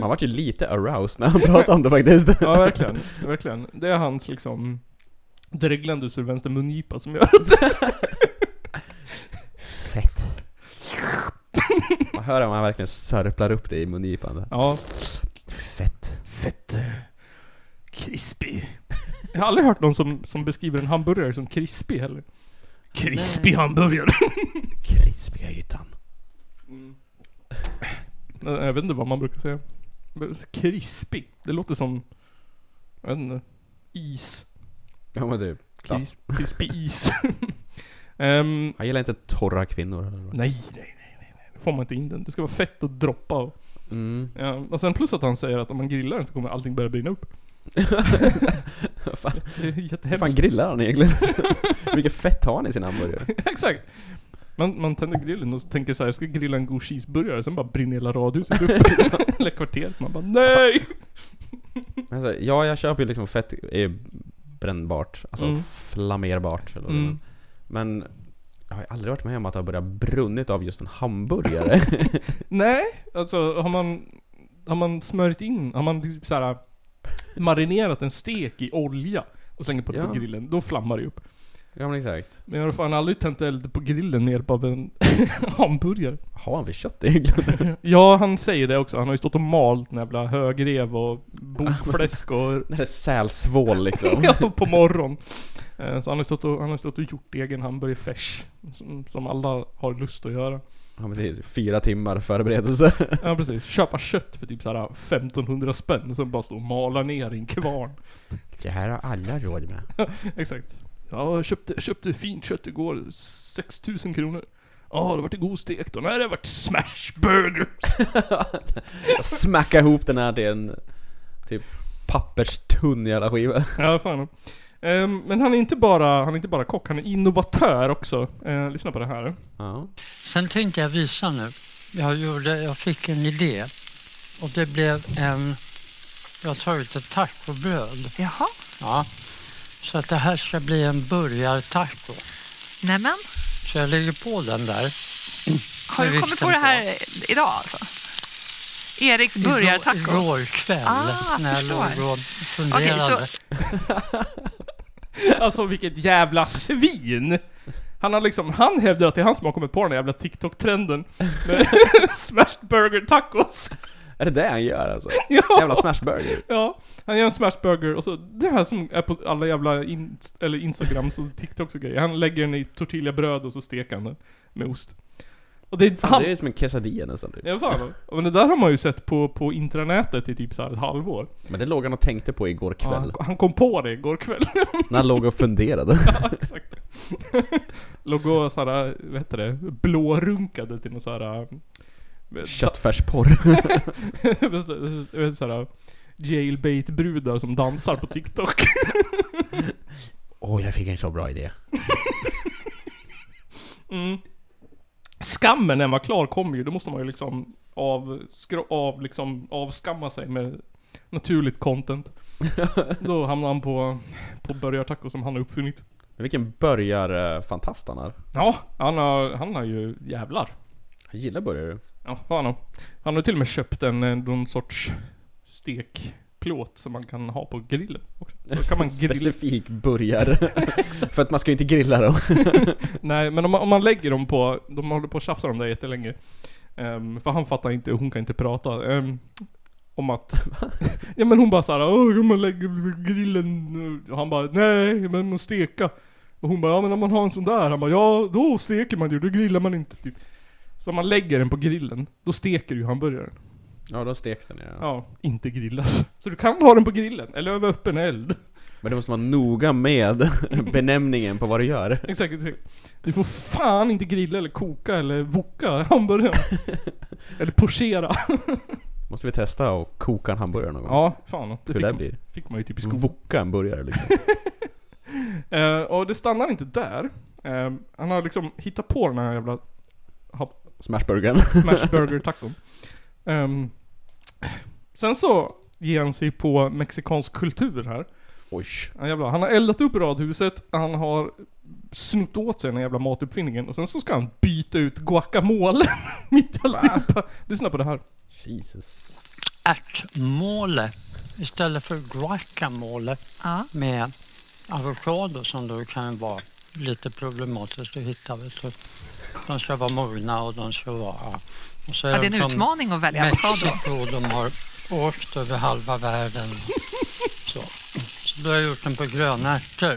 [SPEAKER 2] Man vart ju lite aroused när han pratade om det faktiskt.
[SPEAKER 1] ja, verkligen. Verkligen. Det är hans liksom... Dreglande ur vänster mungipa som gör det.
[SPEAKER 2] Fett. Man hör om han verkligen sörplar upp det i mungipan.
[SPEAKER 1] Ja.
[SPEAKER 2] Fett.
[SPEAKER 1] Fett. eh, Crispy. Jag har aldrig hört någon som, som beskriver en hamburgare som crispy heller. Crispy
[SPEAKER 2] Nej.
[SPEAKER 1] hamburgare.
[SPEAKER 2] Krispiga ytan.
[SPEAKER 1] Nej, Jag vet inte vad man brukar säga. Men Crispy. Det låter som... Jag vet inte. Is.
[SPEAKER 2] Ja men du, klass.
[SPEAKER 1] Cris- Crispy is. Ehm,
[SPEAKER 2] Han gillar inte torra kvinnor eller vad?
[SPEAKER 1] nej, nej, nej, nej. nej. Då får man inte in den. Det ska vara fett att droppa av.
[SPEAKER 2] Mm.
[SPEAKER 1] Ja, och sen plus att han säger att om man grillar den så kommer allting börja brinna upp.
[SPEAKER 2] fan,
[SPEAKER 1] Det är
[SPEAKER 2] hur
[SPEAKER 1] jättehemskt.
[SPEAKER 2] fan grillar han egentligen? Hur mycket fett har han i sin hamburgare?
[SPEAKER 1] Exakt. Man, man tänder grillen och tänker så här, jag ska grilla en god cheeseburgare, sen bara brinner hela radhuset upp. Eller kvarteret. Man bara NEJ!
[SPEAKER 2] Men Alltså, ja, jag köper ju liksom fett är brännbart. Alltså
[SPEAKER 1] Mm.
[SPEAKER 2] flammerbart. Eller vad
[SPEAKER 1] Mm.
[SPEAKER 2] det är. Men jag har ju aldrig varit med om att det har börjat brunnit av just en hamburgare.
[SPEAKER 1] Nej, alltså har man, har man smörjt in, har man typ så här marinerat en stek i olja och slänger på,
[SPEAKER 2] Ja.
[SPEAKER 1] på grillen, då flammar det upp.
[SPEAKER 2] ja men exakt.
[SPEAKER 1] Men jag har fan aldrig tänt eld på grillen med hjälp av en hamburgare.
[SPEAKER 2] Har han för kött egentligen?
[SPEAKER 1] Ja, han säger det också. Han har ju stått och malt en jävla högrev och bokfläsk och...
[SPEAKER 2] När det är sälsvål liksom.
[SPEAKER 1] ja, på morgon. Eh, Så han har stått och, han har stått och gjort egen hamburgare färs. Som, som alla har lust att göra.
[SPEAKER 2] Ja men det är fyra timmar förberedelse.
[SPEAKER 1] Ja precis. Köpa kött för typ såhär 1500 spänn. Sen bara stå och mala ner i en kvarn.
[SPEAKER 2] Det här har alla råd med.
[SPEAKER 1] Exakt. Ja, jag köpte, köpte fint kött igår. 6000 kronor. Ja, det har varit god stek då. Nej, det har varit smashburgers.
[SPEAKER 2] Smacka ihop den här till en typ papperstunn jävla skiva.
[SPEAKER 1] Ja, fan. Ehm, men han är, inte bara, han är inte bara kock, han är innovatör också. Eh, lyssna på det här.
[SPEAKER 2] Ja.
[SPEAKER 12] Sen tänkte jag visa nu. Jag, gjorde, jag fick en idé och det blev en... Jag tar ut ett tacobröd.
[SPEAKER 11] Jaha.
[SPEAKER 12] Ja. Så att det här ska bli en burgartaco.
[SPEAKER 11] Nämen.
[SPEAKER 12] Så jag lägger på den där.
[SPEAKER 11] Har du
[SPEAKER 12] Med
[SPEAKER 11] kommit på
[SPEAKER 12] vikten
[SPEAKER 11] det här idag alltså? Eriks burgartaco?
[SPEAKER 12] Igår, igår kväll
[SPEAKER 11] Ah,
[SPEAKER 12] när jag
[SPEAKER 11] förstår.
[SPEAKER 12] låg och
[SPEAKER 11] Okej,
[SPEAKER 12] funderade.
[SPEAKER 11] så-
[SPEAKER 1] Alltså vilket jävla svin! Han har liksom, han hävdar att det är han som har kommit på den här jävla TikTok-trenden med smashed burger tacos.
[SPEAKER 2] Är det det han gör alltså?
[SPEAKER 1] Ja.
[SPEAKER 2] Jävla smashburger.
[SPEAKER 1] Ja, han gör en smashed burger och så det här som är på alla jävla in, eller Instagrams och TikToks och grejer. Han lägger den i tortillabröd och så steker han den med ost. Och det är
[SPEAKER 2] Fan,
[SPEAKER 1] han...
[SPEAKER 2] det är ju som en quesadilla nästan typ.
[SPEAKER 1] Ja, fan. Men det där har man ju sett på, på intranätet i typ så här ett halvår.
[SPEAKER 2] Men det låg han och tänkte på igår
[SPEAKER 1] Ja,
[SPEAKER 2] kväll.
[SPEAKER 1] han- han kom på det igår kväll.
[SPEAKER 2] När han låg och funderade.
[SPEAKER 1] Ja, exakt. Låg och såhär, vad heter det, blårunkade till någon såhär... eh,
[SPEAKER 2] Köttfärsporr.
[SPEAKER 1] såhär jailbait-brudar som dansar på TikTok.
[SPEAKER 2] Åh, jag fick en så bra idé.
[SPEAKER 1] Mm. Skammen när man var klar kommer ju, då måste man ju liksom av, skro, av, liksom, avskamma sig med naturligt content. Då hamnar han på, på burgartaco som han har uppfunnit.
[SPEAKER 2] Men vilken burgarfantast han är.
[SPEAKER 1] Ja, han har, han har ju jävlar.
[SPEAKER 2] Jag gillar burgare.
[SPEAKER 1] Ja, fan om. Han har till och med köpt en, eh, någon sorts stekplåt som man kan ha på grillen också. Så kan man grilla.
[SPEAKER 2] Specifik burgare. För att man ska ju inte grilla dem.
[SPEAKER 1] Nej, men om man, om man lägger dem på, de håller på och tjafsar om det här jättelänge. Ehm, för han fattar inte, och hon kan inte prata. Ehm, om att... ja men hon bara såhär, åh kan man lägga grillen? Och han bara, nej men att steka. Och hon bara, ja men om man har en sån där. Han bara, ja då steker man ju, då grillar man inte typ. Så om man lägger den på grillen, då steker ju hamburgaren.
[SPEAKER 2] Ja, då steks den ja.
[SPEAKER 1] Ja, inte grillas. Så du kan ha den på grillen, eller över öppen eld.
[SPEAKER 2] Men du måste vara noga med benämningen på vad du gör.
[SPEAKER 1] Exakt, exakt. Du får fan inte grilla eller koka eller voka hamburgaren. eller pochera.
[SPEAKER 2] Måste vi testa och koka en hamburgare någon gång?
[SPEAKER 1] Ja, fan. Det
[SPEAKER 2] Hur
[SPEAKER 1] fick
[SPEAKER 2] det
[SPEAKER 1] man-
[SPEAKER 2] blir?
[SPEAKER 1] fick man ju typ i skolan.
[SPEAKER 2] Voka en burgare liksom.
[SPEAKER 1] Eh, och det stannar inte där. Eh, han har liksom hittat på den här jävla hap-
[SPEAKER 2] Smashburgaren.
[SPEAKER 1] Smashburger-tacon. Ehm, sen så ger han sig på mexikansk kultur här.
[SPEAKER 2] Oj.
[SPEAKER 1] Ja, jävlar. Han har eldat upp radhuset, han har snott åt sig den här jävla matuppfinningen och sen så ska han byta ut guacamole mitt i alltihopa. Lyssna på det här.
[SPEAKER 2] Jesus.
[SPEAKER 12] Ärtmåle istället för guacamole med avokado som då kan vara lite problematiskt att hitta. Vet du. De ska vara mogna och de ska vara... ja. Och så
[SPEAKER 11] Ja, det är en
[SPEAKER 12] de från
[SPEAKER 11] utmaning att välja avokado.
[SPEAKER 12] Mexiko, de har åkt över halva världen. Så, så då har jag gjort den på grönärtor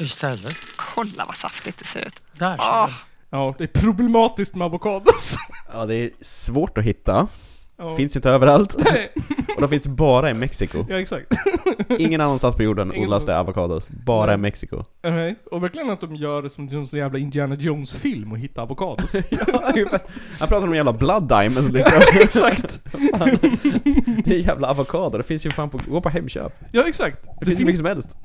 [SPEAKER 12] istället.
[SPEAKER 11] Kolla vad saftigt det ser ut.
[SPEAKER 12] Där
[SPEAKER 11] Ah.
[SPEAKER 1] Ja, det är problematiskt med avokados.
[SPEAKER 2] Ja, det är svårt att hitta.
[SPEAKER 1] Ja.
[SPEAKER 2] Finns inte överallt.
[SPEAKER 1] Nej.
[SPEAKER 2] Och de finns bara i Mexiko.
[SPEAKER 1] Ja, exakt.
[SPEAKER 2] Ingen annanstans på jorden
[SPEAKER 1] Ingen
[SPEAKER 2] odlas det avokados. Bara i Mexiko.
[SPEAKER 1] Okej, Och verkligen att de gör det som en sån jävla Indiana Jones-film och hitta avokados.
[SPEAKER 2] Han pratar om en jävla blood diamonds liksom.
[SPEAKER 1] Exakt.
[SPEAKER 2] Fan. det är jävla avokado, det finns ju fan på, gå på Hemköp.
[SPEAKER 1] Ja, exakt.
[SPEAKER 2] Det, finns ju mycket som helst.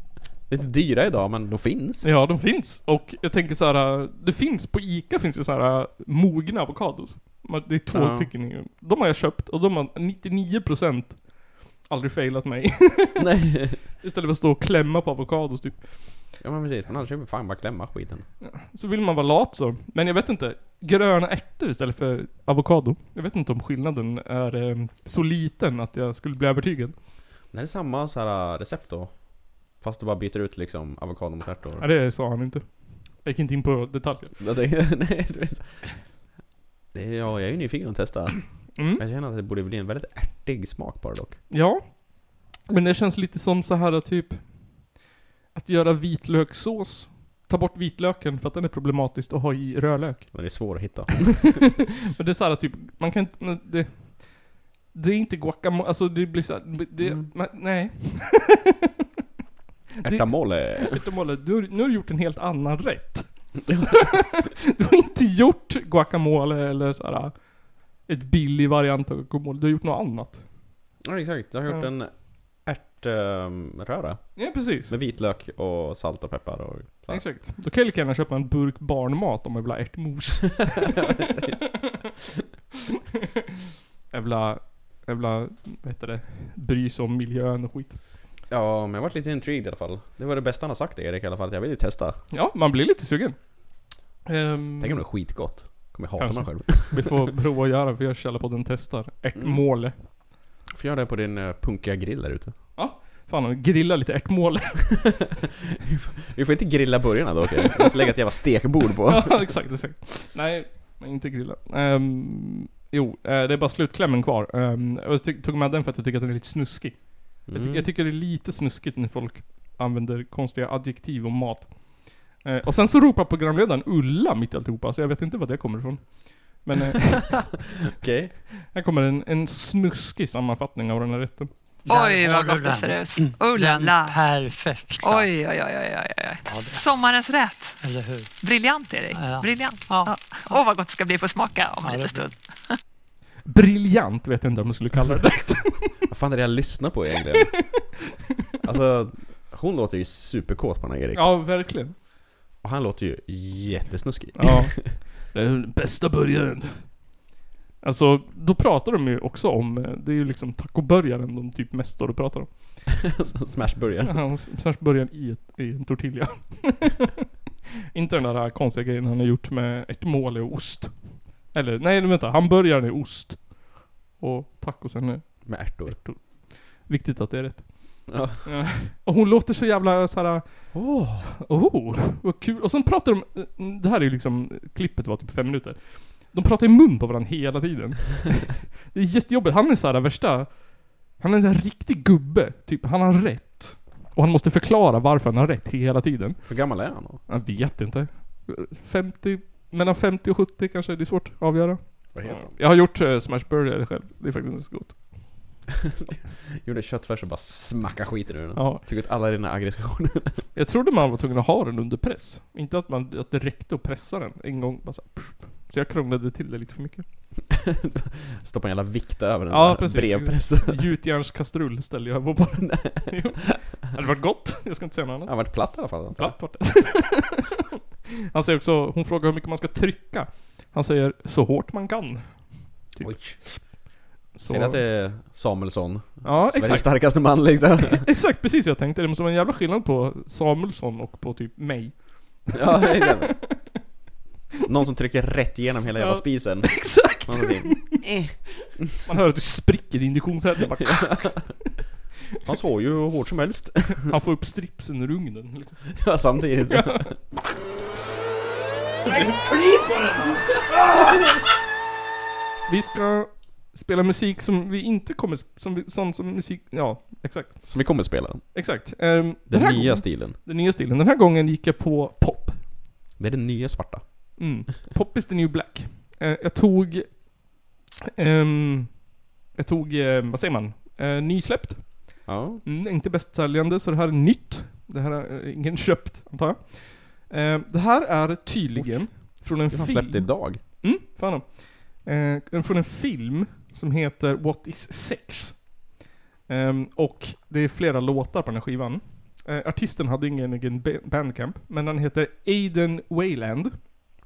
[SPEAKER 2] Lite dyra idag, men de finns.
[SPEAKER 1] Ja, de finns. Och jag tänker så här, det finns, på Ica finns det så här mogna avokados. Men Det är två
[SPEAKER 2] Ja.
[SPEAKER 1] stycken. i- De har jag köpt och de har 99% aldrig failat mig.
[SPEAKER 2] Nej.
[SPEAKER 1] Istället för att stå och klämma på avokados typ.
[SPEAKER 2] Ja men precis, men annars kan vi fan bara klämma skiten.
[SPEAKER 1] Så vill man vara lat så. Men jag vet inte. Gröna ärtor istället för avokado. Jag vet inte om skillnaden är eh, så liten att jag skulle bli övertygad.
[SPEAKER 2] Men är det samma så här äh, recept då? Fast du bara byter ut liksom avokado mot ärtor?
[SPEAKER 1] Ja, det sa han inte. Jag gick inte in på detaljer.
[SPEAKER 2] Jag tänkte, nej, du vet. Det är, ja, jag är ju nyfiken att testa.
[SPEAKER 1] Mm.
[SPEAKER 2] Men jag känner att det borde bli en väldigt ärtig smak bara dock.
[SPEAKER 1] Ja. Men det känns lite som så här typ att göra vitlökssås. Ta bort vitlöken för att den är problematiskt att ha i rödlök.
[SPEAKER 2] Men det är svårt att hitta.
[SPEAKER 1] Men det är så här typ, man kan inte, men det, det är inte guacamole, alltså det blir så här, det, man, nej. Det-
[SPEAKER 2] Ärtamole.
[SPEAKER 1] Ärtamole, du, har- nu har du gjort en helt annan rätt. du har inte gjort guacamole eller så här ett billig variant av guacamole, du har gjort något annat.
[SPEAKER 2] Ja exakt, jag har gjort
[SPEAKER 1] Ja.
[SPEAKER 2] en ärtröra.
[SPEAKER 1] Ja, precis.
[SPEAKER 2] Med vitlök och salt och peppar och så här.
[SPEAKER 1] Exakt. Då kan jag lika gärna köpa en burk barnmat om jag vill ha ärtmos. jävla, jävla, vad heter det, bry sig om miljön och skit.
[SPEAKER 2] Ja, men jag varit lite intrigued i alla fall. Det var det bästa han har sagt Erik i alla fall, att jag vill ju testa.
[SPEAKER 1] Ja, man blir lite sugen. Ehm,
[SPEAKER 2] Tänk om det är skitgott. Kommer jag hata
[SPEAKER 1] Kanske.
[SPEAKER 2] mig själv.
[SPEAKER 1] Vi får prova att göra, för jag Källarpodden testar. Ärtmåle.
[SPEAKER 2] Mm. Får göra det på din eh, punkiga grill där ute.
[SPEAKER 1] Ja, fan grilla lite ärtmåle.
[SPEAKER 2] Vi får inte grilla burgarna då okej? Vi måste lägga ett jävla stekbord på.
[SPEAKER 1] ja, exakt, exakt. Nej, men inte grilla. Ehm, jo, eh, det är bara slutklämmen kvar. Ehm, och jag ty- tog med den för att jag tycker att den är lite snuskig. Jag, ty-
[SPEAKER 2] Mm.
[SPEAKER 1] jag tycker det är lite snuskigt när folk använder konstiga adjektiv om mat. Eh, och sen så ropar programledaren Ulla mitt i alltihopa, så jag vet inte var det kommer ifrån. Men... eh,
[SPEAKER 2] Okej.
[SPEAKER 1] Här kommer en, en snuskig sammanfattning av den här rätten.
[SPEAKER 11] Oj, vad gott det ser ut. Oh la la.
[SPEAKER 12] perfekta.
[SPEAKER 11] Oj, oj, oj, oj, oj, oj. Sommarens rätt.
[SPEAKER 12] Eller hur?
[SPEAKER 11] Briljant, Erik.
[SPEAKER 12] Ja.
[SPEAKER 11] Briljant. Åh, ja. Åh, vad gott det ska bli att få smaka om en liten stund.
[SPEAKER 1] Briljant vet jag inte om jag skulle kalla det direkt.
[SPEAKER 2] Vad fan är det jag lyssnar på egentligen? Alltså, hon låter ju superkåt på den här Erik.
[SPEAKER 1] ja, verkligen.
[SPEAKER 2] Och han låter ju jättesnuskig.
[SPEAKER 1] Ja. Det är den bästa burgaren. Alltså, då pratar de ju också om, eh, det är ju liksom tacoburgaren de typ mest står och pratar om.
[SPEAKER 2] Alltså, Smashburgare.
[SPEAKER 1] Han särskilt burgaren i, ett, i en tortilla. inte den där konstiga grejen han har gjort med ett mål och ost. Eller nej, vänta. Hamburgaren är ost. Och tacosen är
[SPEAKER 2] Med ärtor.
[SPEAKER 1] ärtor. Viktigt att det är rätt.
[SPEAKER 2] Ja.
[SPEAKER 1] Ja. Och hon låter så jävla såhär... Åh, oh, vad kul. Och sen pratar de... Det här är ju liksom... Klippet var typ fem minuter. De pratar i mun på varandra hela tiden. det är jättejobbigt. Han är såhär värsta... Han är en sån här riktig gubbe. Typ, han har rätt. Och han måste förklara varför han har rätt hela tiden.
[SPEAKER 2] Hur gammal är han då?
[SPEAKER 1] Jag vet inte. 50 mellan 50 och 70 kanske, det är svårt att avgöra.
[SPEAKER 2] Vad heter de?
[SPEAKER 1] Jag har gjort eh, smash burger själv, det är faktiskt ganska gott.
[SPEAKER 2] Gjorde köttfärs och bara smacka skiten ur den.
[SPEAKER 1] Ja.
[SPEAKER 2] Tog ut alla dina aggressioner.
[SPEAKER 1] Jag trodde man var tvungen att ha den under press. Inte att, man, att det räckte att pressa den en gång. Bara så, här, pff. så jag krånglade till det lite för mycket.
[SPEAKER 2] Stoppa en jävla vikt över den
[SPEAKER 1] Ja
[SPEAKER 2] där
[SPEAKER 1] precis.
[SPEAKER 2] brevpressen.
[SPEAKER 1] Gjutjärnskastrull ställde jag på bara. Jo. Hade varit gott, jag ska inte säga något annat.
[SPEAKER 2] Han varit platt i alla fall. antar jag.
[SPEAKER 1] Platt vart det. Han säger också, hon frågar hur mycket man ska trycka. Han säger, så hårt man kan. Typ.
[SPEAKER 2] Oj.
[SPEAKER 1] Så-
[SPEAKER 2] Ser ni att det är Samuelsson?
[SPEAKER 1] Ja,
[SPEAKER 2] Sveriges
[SPEAKER 1] exakt.
[SPEAKER 2] starkaste man liksom.
[SPEAKER 1] Exakt precis vad jag tänkte. Det måste vara en jävla skillnad på Samuelsson och på typ mig.
[SPEAKER 2] ja, exakt. Någon som trycker rätt igenom hela jävla
[SPEAKER 1] Ja,
[SPEAKER 2] spisen.
[SPEAKER 1] Exakt!
[SPEAKER 2] Någon som säger,
[SPEAKER 1] Man hör att du spricker i induktionshällen. Bara-
[SPEAKER 2] Han såg ju hur hårt som helst.
[SPEAKER 1] Han får upp stripsen ur ugnen. Liksom.
[SPEAKER 2] Ja, samtidigt.
[SPEAKER 1] Vi ska spela musik som vi inte kommer... Som vi, sånt som musik... Ja, exakt.
[SPEAKER 2] Som vi kommer spela.
[SPEAKER 1] Exakt. Ehm, den
[SPEAKER 2] Den
[SPEAKER 1] här
[SPEAKER 2] nya
[SPEAKER 1] gången-
[SPEAKER 2] stilen.
[SPEAKER 1] Den nya stilen. Den här gången gick jag på pop.
[SPEAKER 2] Det är den nya svarta.
[SPEAKER 1] Mm. Pop is the new black. Eh, jag tog... ehm, jag tog, eh, vad säger man? Eh, nysläppt.
[SPEAKER 2] Ja.
[SPEAKER 1] Mm, inte bästsäljande, så det här är nytt. Det här är eh, ingen köpt, antar jag. Eh, det här är tydligen från en
[SPEAKER 2] Det har
[SPEAKER 1] film...
[SPEAKER 2] släppt idag.
[SPEAKER 1] Mm, fan om. Eh, den från en film som heter What is sex? Ehm, och det är flera låtar på den här skivan. Eh, artisten hade ingen egen ba- bandcamp, men han heter Aiden Wayland.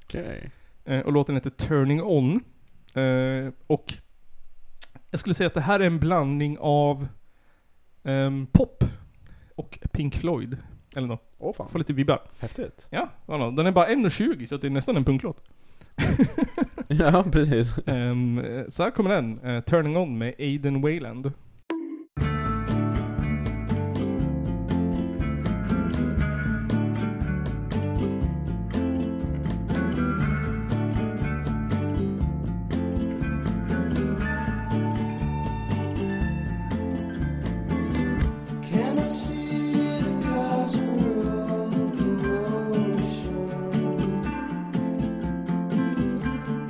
[SPEAKER 2] Okej.
[SPEAKER 1] Eh, och låten heter Turning On. Eh, och jag skulle säga att det här är en blandning av ehm, pop och Pink Floyd. Eller något.
[SPEAKER 2] Åh
[SPEAKER 1] Får
[SPEAKER 2] fan.
[SPEAKER 1] lite vibbar.
[SPEAKER 2] Häftigt.
[SPEAKER 1] Ja, vad nå. den är bara 1.20 så att det är nästan en punklåt.
[SPEAKER 2] Ja, precis.
[SPEAKER 1] Ehm, eh, så här kommer den, eh, Turning On med Aiden Wayland.
[SPEAKER 3] Can I see the cause for all the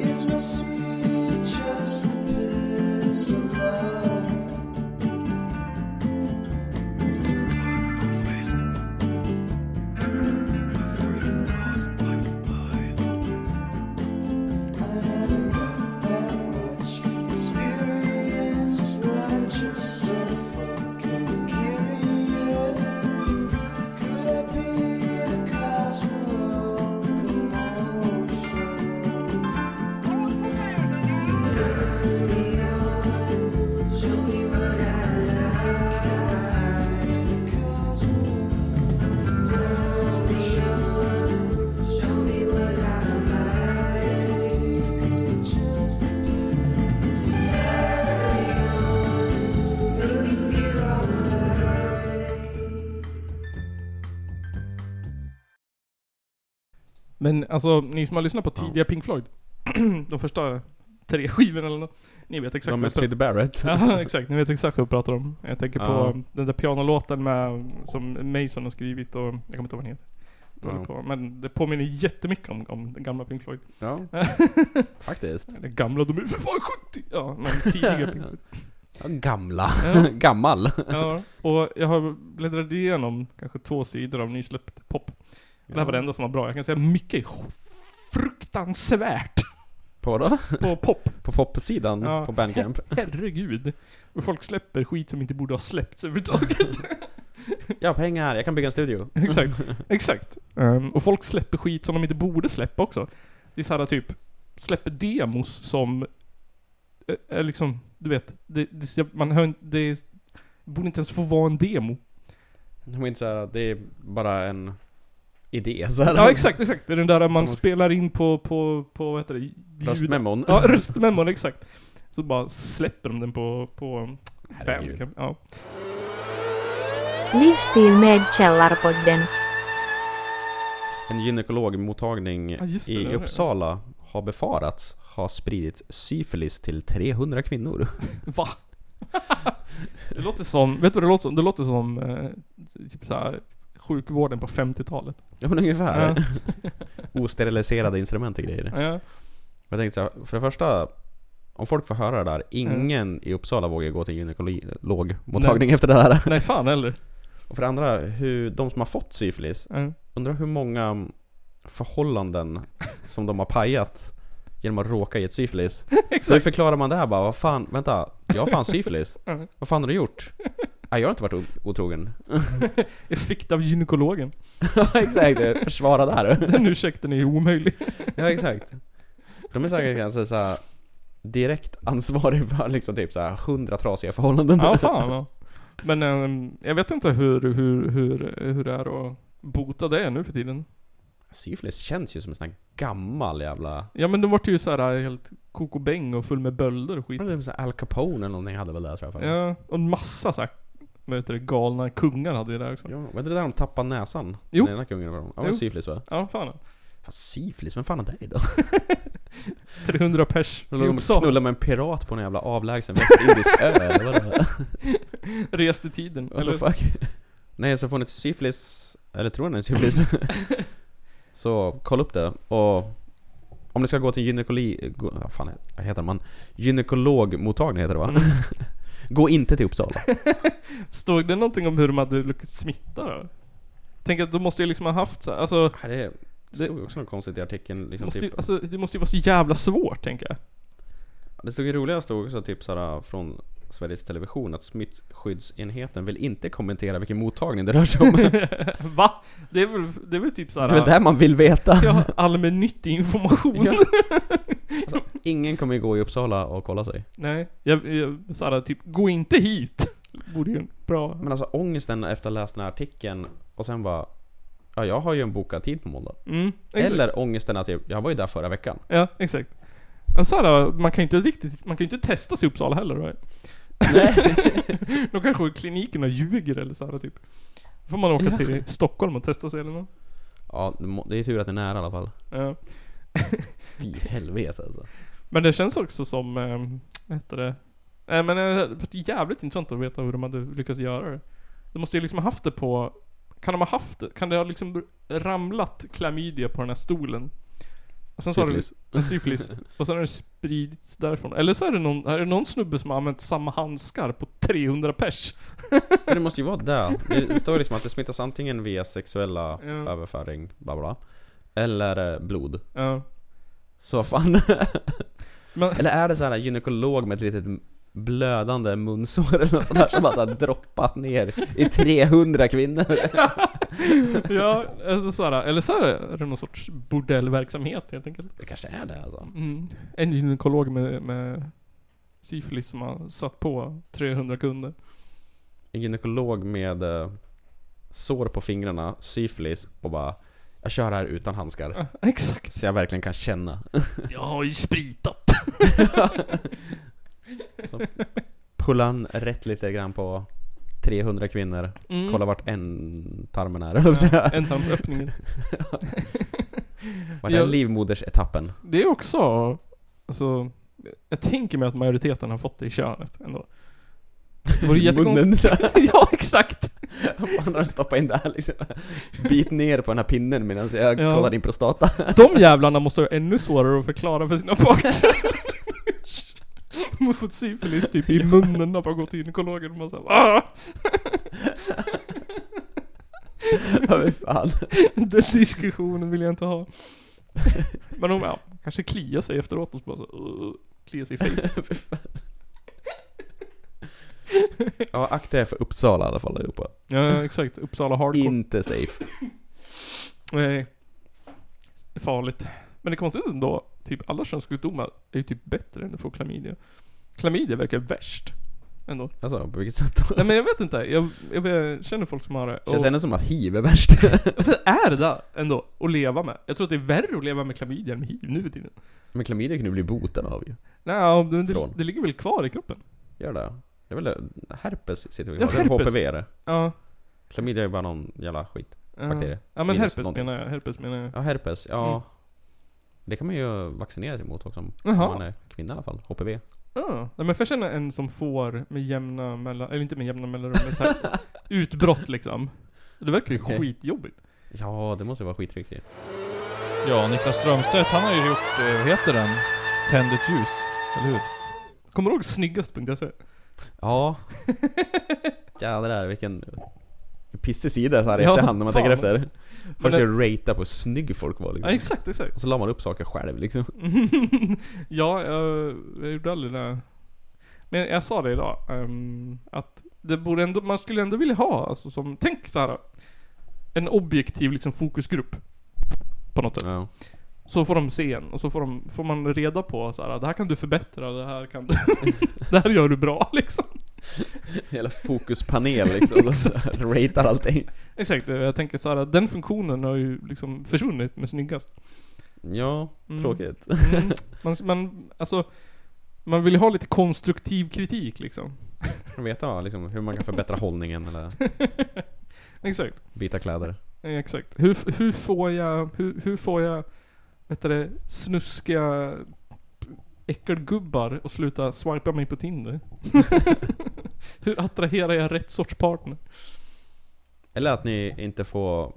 [SPEAKER 3] Is my sea just a piece of love? I haven't got that much experience, but I'm just so fucking curious. Could I be the cause for all commotion? Show me what I like. Can I see the cause for commotion? Show me what I like. Is my secret just a piece Make me feel alright.
[SPEAKER 1] Men alltså, ni som har lyssnat på tidiga Pink Floyd, de första tre skivorna eller något, ni vet exakt
[SPEAKER 2] De med
[SPEAKER 1] vad jag
[SPEAKER 2] Syd Barrett.
[SPEAKER 1] pratar Ja, exakt. Ni vet exakt vad jag pratar om. Jag tänker
[SPEAKER 2] Ja.
[SPEAKER 1] på den där pianolåten med, som Mason har skrivit och, jag kommer inte ihåg vad den heter. Dålig på. Men det påminner jättemycket om, om den gamla Pink Floyd.
[SPEAKER 2] Ja, faktiskt.
[SPEAKER 1] Eller gamla, de är för fan 70! Ja, men tidiga Pink Floyd.
[SPEAKER 2] Ja, gamla.
[SPEAKER 1] Ja.
[SPEAKER 2] Gammal.
[SPEAKER 1] Ja, och jag har bläddrat igenom kanske två sidor av nysläppt pop. Det här var det enda som var bra. Jag kan säga mycket är fruktansvärt
[SPEAKER 2] På vadå?
[SPEAKER 1] på pop.
[SPEAKER 2] På FOP-sidan
[SPEAKER 1] Ja.
[SPEAKER 2] Mm, på Bandcamp.
[SPEAKER 1] Herregud. Och folk släpper skit som inte borde ha släppts överhuvudtaget.
[SPEAKER 2] Jag har pengar, jag kan bygga en studio.
[SPEAKER 1] Exakt. Exakt. Ehm, och folk släpper skit som de inte borde släppa också. Det är såhär typ, släpper demos som... eh, Är liksom, du vet. Det, det, man hör inte- det borde inte ens få vara en demo.
[SPEAKER 2] Det var inte så här, det är bara en idé så här.
[SPEAKER 1] Ja exakt, exakt. Det är den där man
[SPEAKER 2] man-
[SPEAKER 1] spelar in på, på, på vad heter det? Ljud-
[SPEAKER 2] Röstmemon.
[SPEAKER 1] Ja, röstmemon, exakt. Så bara släpper de den på, på
[SPEAKER 2] Herregud.
[SPEAKER 1] Bandcamp. Ja.
[SPEAKER 4] Livsstil med Källarpodden.
[SPEAKER 2] En gynekologmottagning
[SPEAKER 1] Ja, just det, det var det.
[SPEAKER 2] i Uppsala har befarats ha spridit syfilis till 300 kvinnor.
[SPEAKER 1] Va? det låter som, vet du vad det låter som? Det låter som eh, typ såhär sjukvården på 50-talet.
[SPEAKER 2] Ja men ungefär.
[SPEAKER 1] Ja.
[SPEAKER 2] Osteriliserade instrument och grejer.
[SPEAKER 1] Ja.
[SPEAKER 2] Jag tänkte så här, för det första, om folk får höra det där, ingen i Uppsala vågar gå till gynekologmottagning
[SPEAKER 1] Nej.
[SPEAKER 2] efter det här.
[SPEAKER 1] Nej fan heller.
[SPEAKER 2] Och för det andra, hur, de som har fått syfilis,
[SPEAKER 1] Ja.
[SPEAKER 2] undrar hur många förhållanden som de har pajat genom att råka i ett syfilis.
[SPEAKER 1] Exakt.
[SPEAKER 2] Så hur förklarar man det här bara? Vad fan, vänta, jag har fan syfilis.
[SPEAKER 1] Ja.
[SPEAKER 2] Vad fan har du gjort? Nej, jag har inte varit o- otrogen.
[SPEAKER 1] Jag fick det av gynekologen.
[SPEAKER 2] Ja exakt, försvara där.
[SPEAKER 1] Den ursäkten är ju omöjlig.
[SPEAKER 2] Ja exakt. De är säkert kanske såhär direkt ansvarig för liksom typ såhär hundra trasiga förhållanden.
[SPEAKER 1] Ja, fan. Ja. Men ehm, jag vet inte hur, hur, hur, hur det är att bota det nu för tiden.
[SPEAKER 2] Syfilis känns ju som en sån här gammal jävla...
[SPEAKER 1] Ja men de vart ju så här helt kokobäng och full med bölder och skit.
[SPEAKER 2] Det var så Al Capone eller någonting hade väl det tror jag. för mig.
[SPEAKER 1] Ja, och en massa så här, vad heter det, galna kungar hade ju det också.
[SPEAKER 2] Ja, var inte det där de tappade näsan?
[SPEAKER 1] Jo.
[SPEAKER 2] Den ena kungen var de. Ja,
[SPEAKER 1] Jo.
[SPEAKER 2] men syfilis va?
[SPEAKER 1] Ja, fan.
[SPEAKER 2] Fan, syfilis? Vem fan har det då?
[SPEAKER 1] 300 pers i
[SPEAKER 2] De låg och
[SPEAKER 1] Uppsala.
[SPEAKER 2] knullade med en pirat på en jävla avlägsen västindisk ö, eller vad det var.
[SPEAKER 1] Rest i tiden.
[SPEAKER 2] What the
[SPEAKER 1] eller?
[SPEAKER 2] fuck? Nej, så får ni syfilis, eller tror ni är syfilis? så kolla upp det och om ni ska gå till gynekoli... Gå, vad fan heter man? Gynekologmottagning heter det
[SPEAKER 1] Mm.
[SPEAKER 2] va? gå inte till Uppsala.
[SPEAKER 1] Stod det någonting om hur de hade lyckats smitta då? Tänk att de måste ju liksom ha haft så här, alltså,
[SPEAKER 2] det stod ju också något konstigt i artikeln. Liksom,
[SPEAKER 1] måste ju,
[SPEAKER 2] typ,
[SPEAKER 1] alltså det måste ju vara så jävla svårt tänker jag.
[SPEAKER 2] Det stod ju roliga stod också typ såhär från Sveriges Television att smittskyddsenheten vill inte kommentera vilken mottagning det rör sig om.
[SPEAKER 1] Va? Det är väl, det är väl typ såhär...
[SPEAKER 2] Det är väl det man vill veta.
[SPEAKER 1] Ja, allmännyttig information.
[SPEAKER 2] alltså, ingen kommer ju gå i Uppsala och kolla sig.
[SPEAKER 1] Nej, jag, jag såhär typ, gå inte hit. Borde ju en bra...
[SPEAKER 2] Men alltså ångesten efter att ha läst den här artikeln och sen bara Ja, jag har ju en bokad tid på måndag.
[SPEAKER 1] Mm, exakt.
[SPEAKER 2] Eller ångesten att jag, jag var ju där förra veckan.
[SPEAKER 1] Ja, exakt. Men såhär, man kan ju inte riktigt, man kan ju inte testa sig i Uppsala heller right? Nej. De kanske klinikerna ljuger eller såhär typ. Då får man åka
[SPEAKER 2] Ja.
[SPEAKER 1] till Stockholm och testa sig eller något.
[SPEAKER 2] Ja, det må- det är tur att det är nära i alla fall.
[SPEAKER 1] Ja.
[SPEAKER 2] Fy helvete alltså.
[SPEAKER 1] Men det känns också som, eh, vad heter det? Eh, men eh, det hade varit jävligt intressant att veta hur de hade lyckats göra det. De måste ju liksom ha haft det på, kan de ha haft det? Kan det ha liksom ramlat klamydia på den här stolen? Och sen så har det-
[SPEAKER 2] Syfilis.
[SPEAKER 1] Ja, syfilis. Och sen har det spridits därifrån. Eller så är det någon, är det någon snubbe som har använt samma handskar på 300 pers.
[SPEAKER 2] Men det måste ju vara det. Det står ju liksom att det smittas antingen via sexuella
[SPEAKER 1] Ja.
[SPEAKER 2] överföring, bla bla. Eller eh, blod.
[SPEAKER 1] Ja.
[SPEAKER 2] Så fan.
[SPEAKER 1] Men-
[SPEAKER 2] Eller är det så här gynekolog med ett litet blödande munsår eller något sånt där som bara så här droppat ner i 300 kvinnor?
[SPEAKER 1] ja, alltså så här, eller så här är det någon sorts bordellverksamhet helt enkelt.
[SPEAKER 2] Det kanske är det alltså.
[SPEAKER 1] Mm. En gynekolog med, med syfilis som har satt på 300 kunder.
[SPEAKER 2] en gynekolog med eh, sår på fingrarna, syfilis och bara jag kör här utan handskar.
[SPEAKER 1] Ja, exakt.
[SPEAKER 2] Så jag verkligen kan känna.
[SPEAKER 1] Jag har ju spritat.
[SPEAKER 2] Så pullar han rätt lite grann på 300 kvinnor.
[SPEAKER 1] Mm.
[SPEAKER 2] Kolla vart en tarmen är, höll jag på att säga.
[SPEAKER 1] Ändtarmsöppningen.
[SPEAKER 2] Vart är
[SPEAKER 1] Jag-
[SPEAKER 2] livmodersetappen?
[SPEAKER 1] Det är också, alltså, jag tänker mig att majoriteten har fått det i könet ändå. Det vore
[SPEAKER 2] I munnen
[SPEAKER 1] jättekonstigt.
[SPEAKER 2] så här.
[SPEAKER 1] ja, exakt.
[SPEAKER 2] Vad fan har du stoppat in där liksom? Bit ner på den här pinnen medan jag
[SPEAKER 1] Ja.
[SPEAKER 2] kollar din prostata.
[SPEAKER 1] De jävlarna måste ha ännu svårare att förklara för sina partner. De har fått syfilis typ i munnen när man gått till gynekologen och man säger ah!
[SPEAKER 2] Ja, men fan.
[SPEAKER 1] Den diskussionen vill jag inte ha. Men de ja, kanske kliar sig efteråt och så bara så, "Ugh", kliar sig i face.
[SPEAKER 2] Ja, akta er för Uppsala i alla fall allihopa.
[SPEAKER 1] Ja, exakt. Uppsala hardcore.
[SPEAKER 2] Inte safe.
[SPEAKER 1] Nej. Det är farligt. Men det är konstigt ändå. Typ alla könssjukdomar är ju typ bättre än att få klamydia. Klamydia verkar värst. Ändå.
[SPEAKER 2] Alltså, på vilket sätt då?
[SPEAKER 1] Nej men jag vet inte. Jag, jag, jag känner folk som har det.
[SPEAKER 2] Känns
[SPEAKER 1] Och-
[SPEAKER 2] ändå som att hiv är värst.
[SPEAKER 1] Vad är det där ändå? Att leva med? Jag tror att det är värre att leva med klamydia än med hiv nu för tiden.
[SPEAKER 2] Men klamydia kan du bli botad av ju.
[SPEAKER 1] Nej, men det,
[SPEAKER 2] Från?
[SPEAKER 1] det ligger väl kvar i kroppen?
[SPEAKER 2] Gör det? Det är väl eh, herpes sitter vi
[SPEAKER 1] Ja,
[SPEAKER 2] kvar. Det är
[SPEAKER 1] herpes.
[SPEAKER 2] HPV är det.
[SPEAKER 1] Ja.
[SPEAKER 2] Klamydia är ju bara någon jävla skit.
[SPEAKER 1] Ja.
[SPEAKER 2] Bakterie.
[SPEAKER 1] Ja men
[SPEAKER 2] Virus,
[SPEAKER 1] herpes
[SPEAKER 2] någonting.
[SPEAKER 1] menar jag. Herpes menar jag.
[SPEAKER 2] Ja, herpes. Ja.
[SPEAKER 1] Mm.
[SPEAKER 2] Det kan man ju vaccinera sig mot också. Om
[SPEAKER 1] Jaha.
[SPEAKER 2] man är kvinna i alla fall. HPV.
[SPEAKER 1] Ja. Nej, men för jag känner en som får med jämna mellan... Eller inte med jämna mellanrum, men så här utbrott liksom. Det verkar ju
[SPEAKER 2] Okej.
[SPEAKER 1] skitjobbigt.
[SPEAKER 2] Ja, det måste ju vara skittryck ju.
[SPEAKER 10] Ja, Niklas Strömstedt han har ju gjort, eh, vad heter den? Tänd ett ljus, eller hur?
[SPEAKER 1] Kommer du ihåg snyggast.se?
[SPEAKER 2] Ja. Jävlar vilken pissig sida så här i
[SPEAKER 1] Ja,
[SPEAKER 2] efterhand när man
[SPEAKER 1] fan.
[SPEAKER 2] tänker efter.
[SPEAKER 1] Men
[SPEAKER 2] Först
[SPEAKER 1] det-
[SPEAKER 2] är det ratea på hur snygg folk var liksom.
[SPEAKER 1] Ja, exakt, exakt.
[SPEAKER 2] Och så la man upp saker själv liksom.
[SPEAKER 1] ja, jag, jag gjorde aldrig det. Men jag sa det idag, ehm, att det borde ändå, man skulle ändå vilja ha, alltså som, tänk så här En objektiv liksom fokusgrupp. På något sätt. Så får de se en, och så får, de, får man reda på så här, det här kan du förbättra, det här kan du... det här gör du bra liksom.
[SPEAKER 2] Hela fokuspanel liksom. Så ratear allting.
[SPEAKER 1] Exakt, jag tänker så här, den funktionen har ju liksom försvunnit med snyggast.
[SPEAKER 2] Ja,
[SPEAKER 1] Mm.
[SPEAKER 2] tråkigt.
[SPEAKER 1] Mm. Man, man, alltså, man vill ju ha lite konstruktiv kritik liksom.
[SPEAKER 2] Man vet ja, liksom, hur man kan förbättra hållningen eller
[SPEAKER 1] Exakt.
[SPEAKER 2] byta kläder.
[SPEAKER 1] Eh, Exakt. Hur, hur får jag, hur, hur får jag, vet du det, snuskiga äckelgubbar att sluta swipa mig på Tinder? hur attraherar jag rätt sorts partner?
[SPEAKER 2] Eller att ni inte får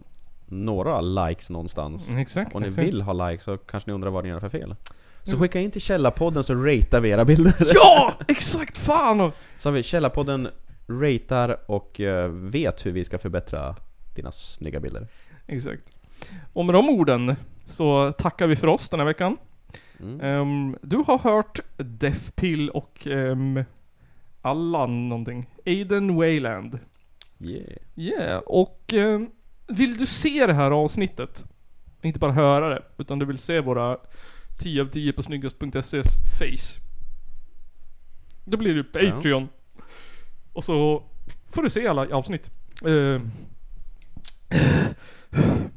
[SPEAKER 2] några likes någonstans.
[SPEAKER 1] Mm, exakt,
[SPEAKER 2] Om ni
[SPEAKER 1] exakt.
[SPEAKER 2] vill ha likes så kanske ni undrar vad ni gör för fel. Så
[SPEAKER 1] Mm.
[SPEAKER 2] skicka in till Källarpodden så ratear vi era bilder.
[SPEAKER 1] Ja! Exakt! Fan!
[SPEAKER 2] Så har vi Källarpodden ratear och eh, vet hur vi ska förbättra dina snygga bilder.
[SPEAKER 1] Exakt. Och med de orden så tackar vi för oss den här veckan.
[SPEAKER 2] Mm. Eh.
[SPEAKER 1] Ehm, du har hört Death Pill och ehm, Allan någonting. Aiden Wayland.
[SPEAKER 2] Yeah.
[SPEAKER 1] Yeah, och ehm, vill du se det här avsnittet? Inte bara höra det, utan du vill se våra 10 av 10 på snyggast.ses face. Då blir du Patreon. Och så får du se alla avsnitt. Ehm,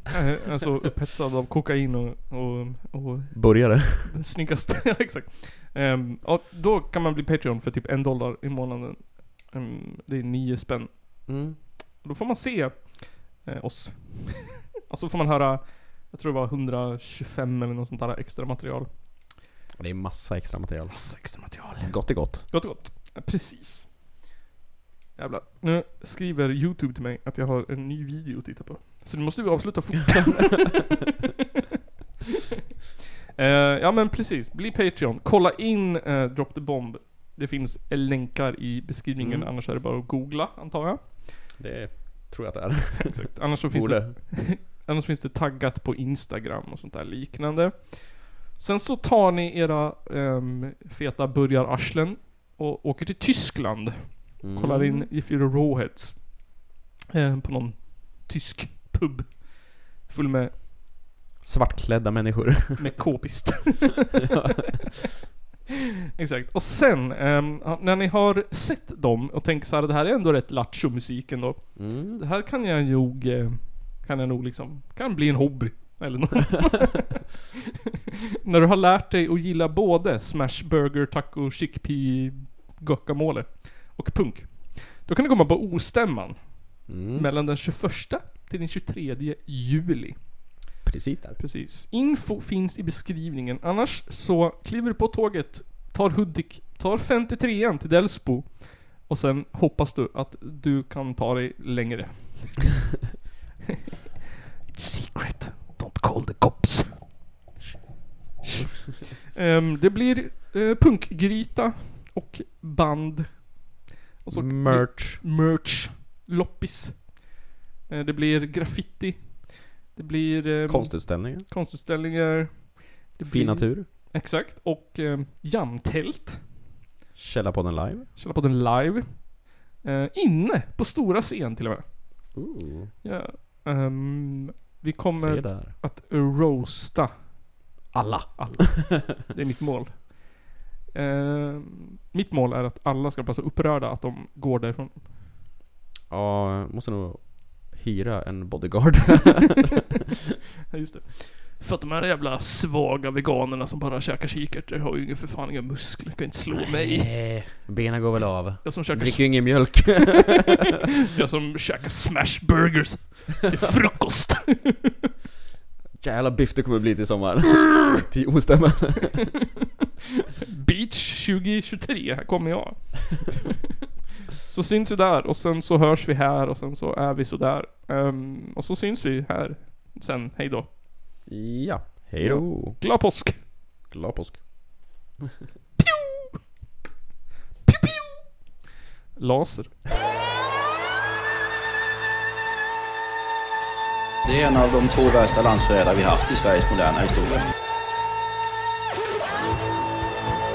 [SPEAKER 1] Eh, alltså upphetsad av kokain och, och, och
[SPEAKER 2] Burgare.
[SPEAKER 1] Snyggast, ja exakt. Ehm, och då kan man bli Patreon för typ en dollar i månaden. Ehm, det är nio spänn.
[SPEAKER 2] Mm.
[SPEAKER 1] Då får man se eh, oss. och så får man höra, jag tror det var 125 eller något sånt där extra material.
[SPEAKER 2] Det är massa extra material.
[SPEAKER 1] Massa extra material.
[SPEAKER 2] Gott är gott.
[SPEAKER 1] Gott gott. Ja, precis. Jävlar. Nu skriver YouTube till mig att jag har en ny video att titta på. Så nu måste vi avsluta fort. Eh, ja men precis, bli Patreon. Kolla in eh, Drop the Bomb. Det finns länkar i beskrivningen,
[SPEAKER 2] Mm.
[SPEAKER 1] annars är det bara att googla antar jag.
[SPEAKER 2] Det tror jag att det är.
[SPEAKER 1] Exakt. Annars så finns
[SPEAKER 2] Borde.
[SPEAKER 1] det, annars finns det taggat på Instagram och sånt där liknande. Sen så tar ni era ehm, feta burgararslen och åker till Tyskland.
[SPEAKER 2] Mm.
[SPEAKER 1] Kollar in If You're a Rawheads. ehm, på någon tysk pub. Full med,
[SPEAKER 2] Svartklädda människor.
[SPEAKER 1] med k-pist. Exakt. Och sen, ehm, ja, när ni har sett dem och tänker så här, det här är ändå rätt lattjo musik ändå.
[SPEAKER 2] Mm.
[SPEAKER 1] Det här kan jag nog, eh, kan jag nog liksom, kan bli en hobby. Eller något. När du har lärt dig att gilla både smash burger, taco, chickpea, guacamole och punk. Då kan du komma på ostämman.
[SPEAKER 2] Mm.
[SPEAKER 1] Mellan den 21 till den 23 juli.
[SPEAKER 2] Precis där.
[SPEAKER 1] Precis. Info finns i beskrivningen. Annars så kliver du på tåget, tar Hudik, tar 53an till Delsbo. Och sen hoppas du att du kan ta dig längre. It's secret. Don't call the cops. Ehm, det blir eh, punkgryta och band. Och så
[SPEAKER 2] Merch.
[SPEAKER 1] Merch. Loppis. Eh, det blir graffiti. Det blir... ehm,
[SPEAKER 2] Mm. Konstutställningar.
[SPEAKER 1] Konstutställningar. Det
[SPEAKER 2] Fin natur.
[SPEAKER 1] Exakt. Och eh, jamtält.
[SPEAKER 2] Källarpodden live.
[SPEAKER 1] Källarpodden live. Eh, inne på stora scen till och med.
[SPEAKER 2] Ooh.
[SPEAKER 1] Ja. ehm, vi
[SPEAKER 2] Se
[SPEAKER 1] kommer
[SPEAKER 2] där.
[SPEAKER 1] att roasta
[SPEAKER 2] Alla.
[SPEAKER 1] alla. Det är mitt mål. Ehm, mitt mål är att alla ska vara så upprörda att de går därifrån.
[SPEAKER 2] Ja, jag måste nog hyra en bodyguard.
[SPEAKER 1] Ja, just det. För att de här jävla svaga veganerna som bara käkar kikärtor har ju ingen för fan inga muskler, kan inte slå mig.
[SPEAKER 2] Nej, Benen går väl av.
[SPEAKER 1] Jag som käkar-
[SPEAKER 2] Dricker ju ingen mjölk.
[SPEAKER 1] Jag som käkar smashburgers till frukost.
[SPEAKER 2] Jävla biff det kommer bli till sommaren. till ostämman.
[SPEAKER 1] Beach 2023, här kommer jag. så syns vi där och sen så hörs vi här och sen så är vi sådär. Ehm, och så syns vi här sen. Hej då.
[SPEAKER 2] Ja, hej då.
[SPEAKER 1] Glad påsk!
[SPEAKER 2] Glad påsk.
[SPEAKER 1] Laser.
[SPEAKER 14] Det är en av de två värsta landsförrädare vi haft i Sveriges moderna historia.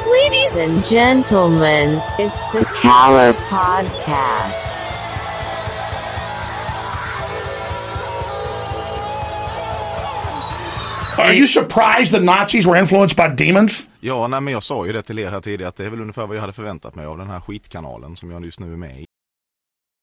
[SPEAKER 4] Ladies and gentlemen, it's the Caller Podcast.
[SPEAKER 11] Are you surprised the Nazis were influenced by demons?
[SPEAKER 15] Ja, nej, men jag sa ju det till er här tidigare att det är väl ungefär vad jag hade förväntat mig av den här skitkanalen som jag just nu är med i.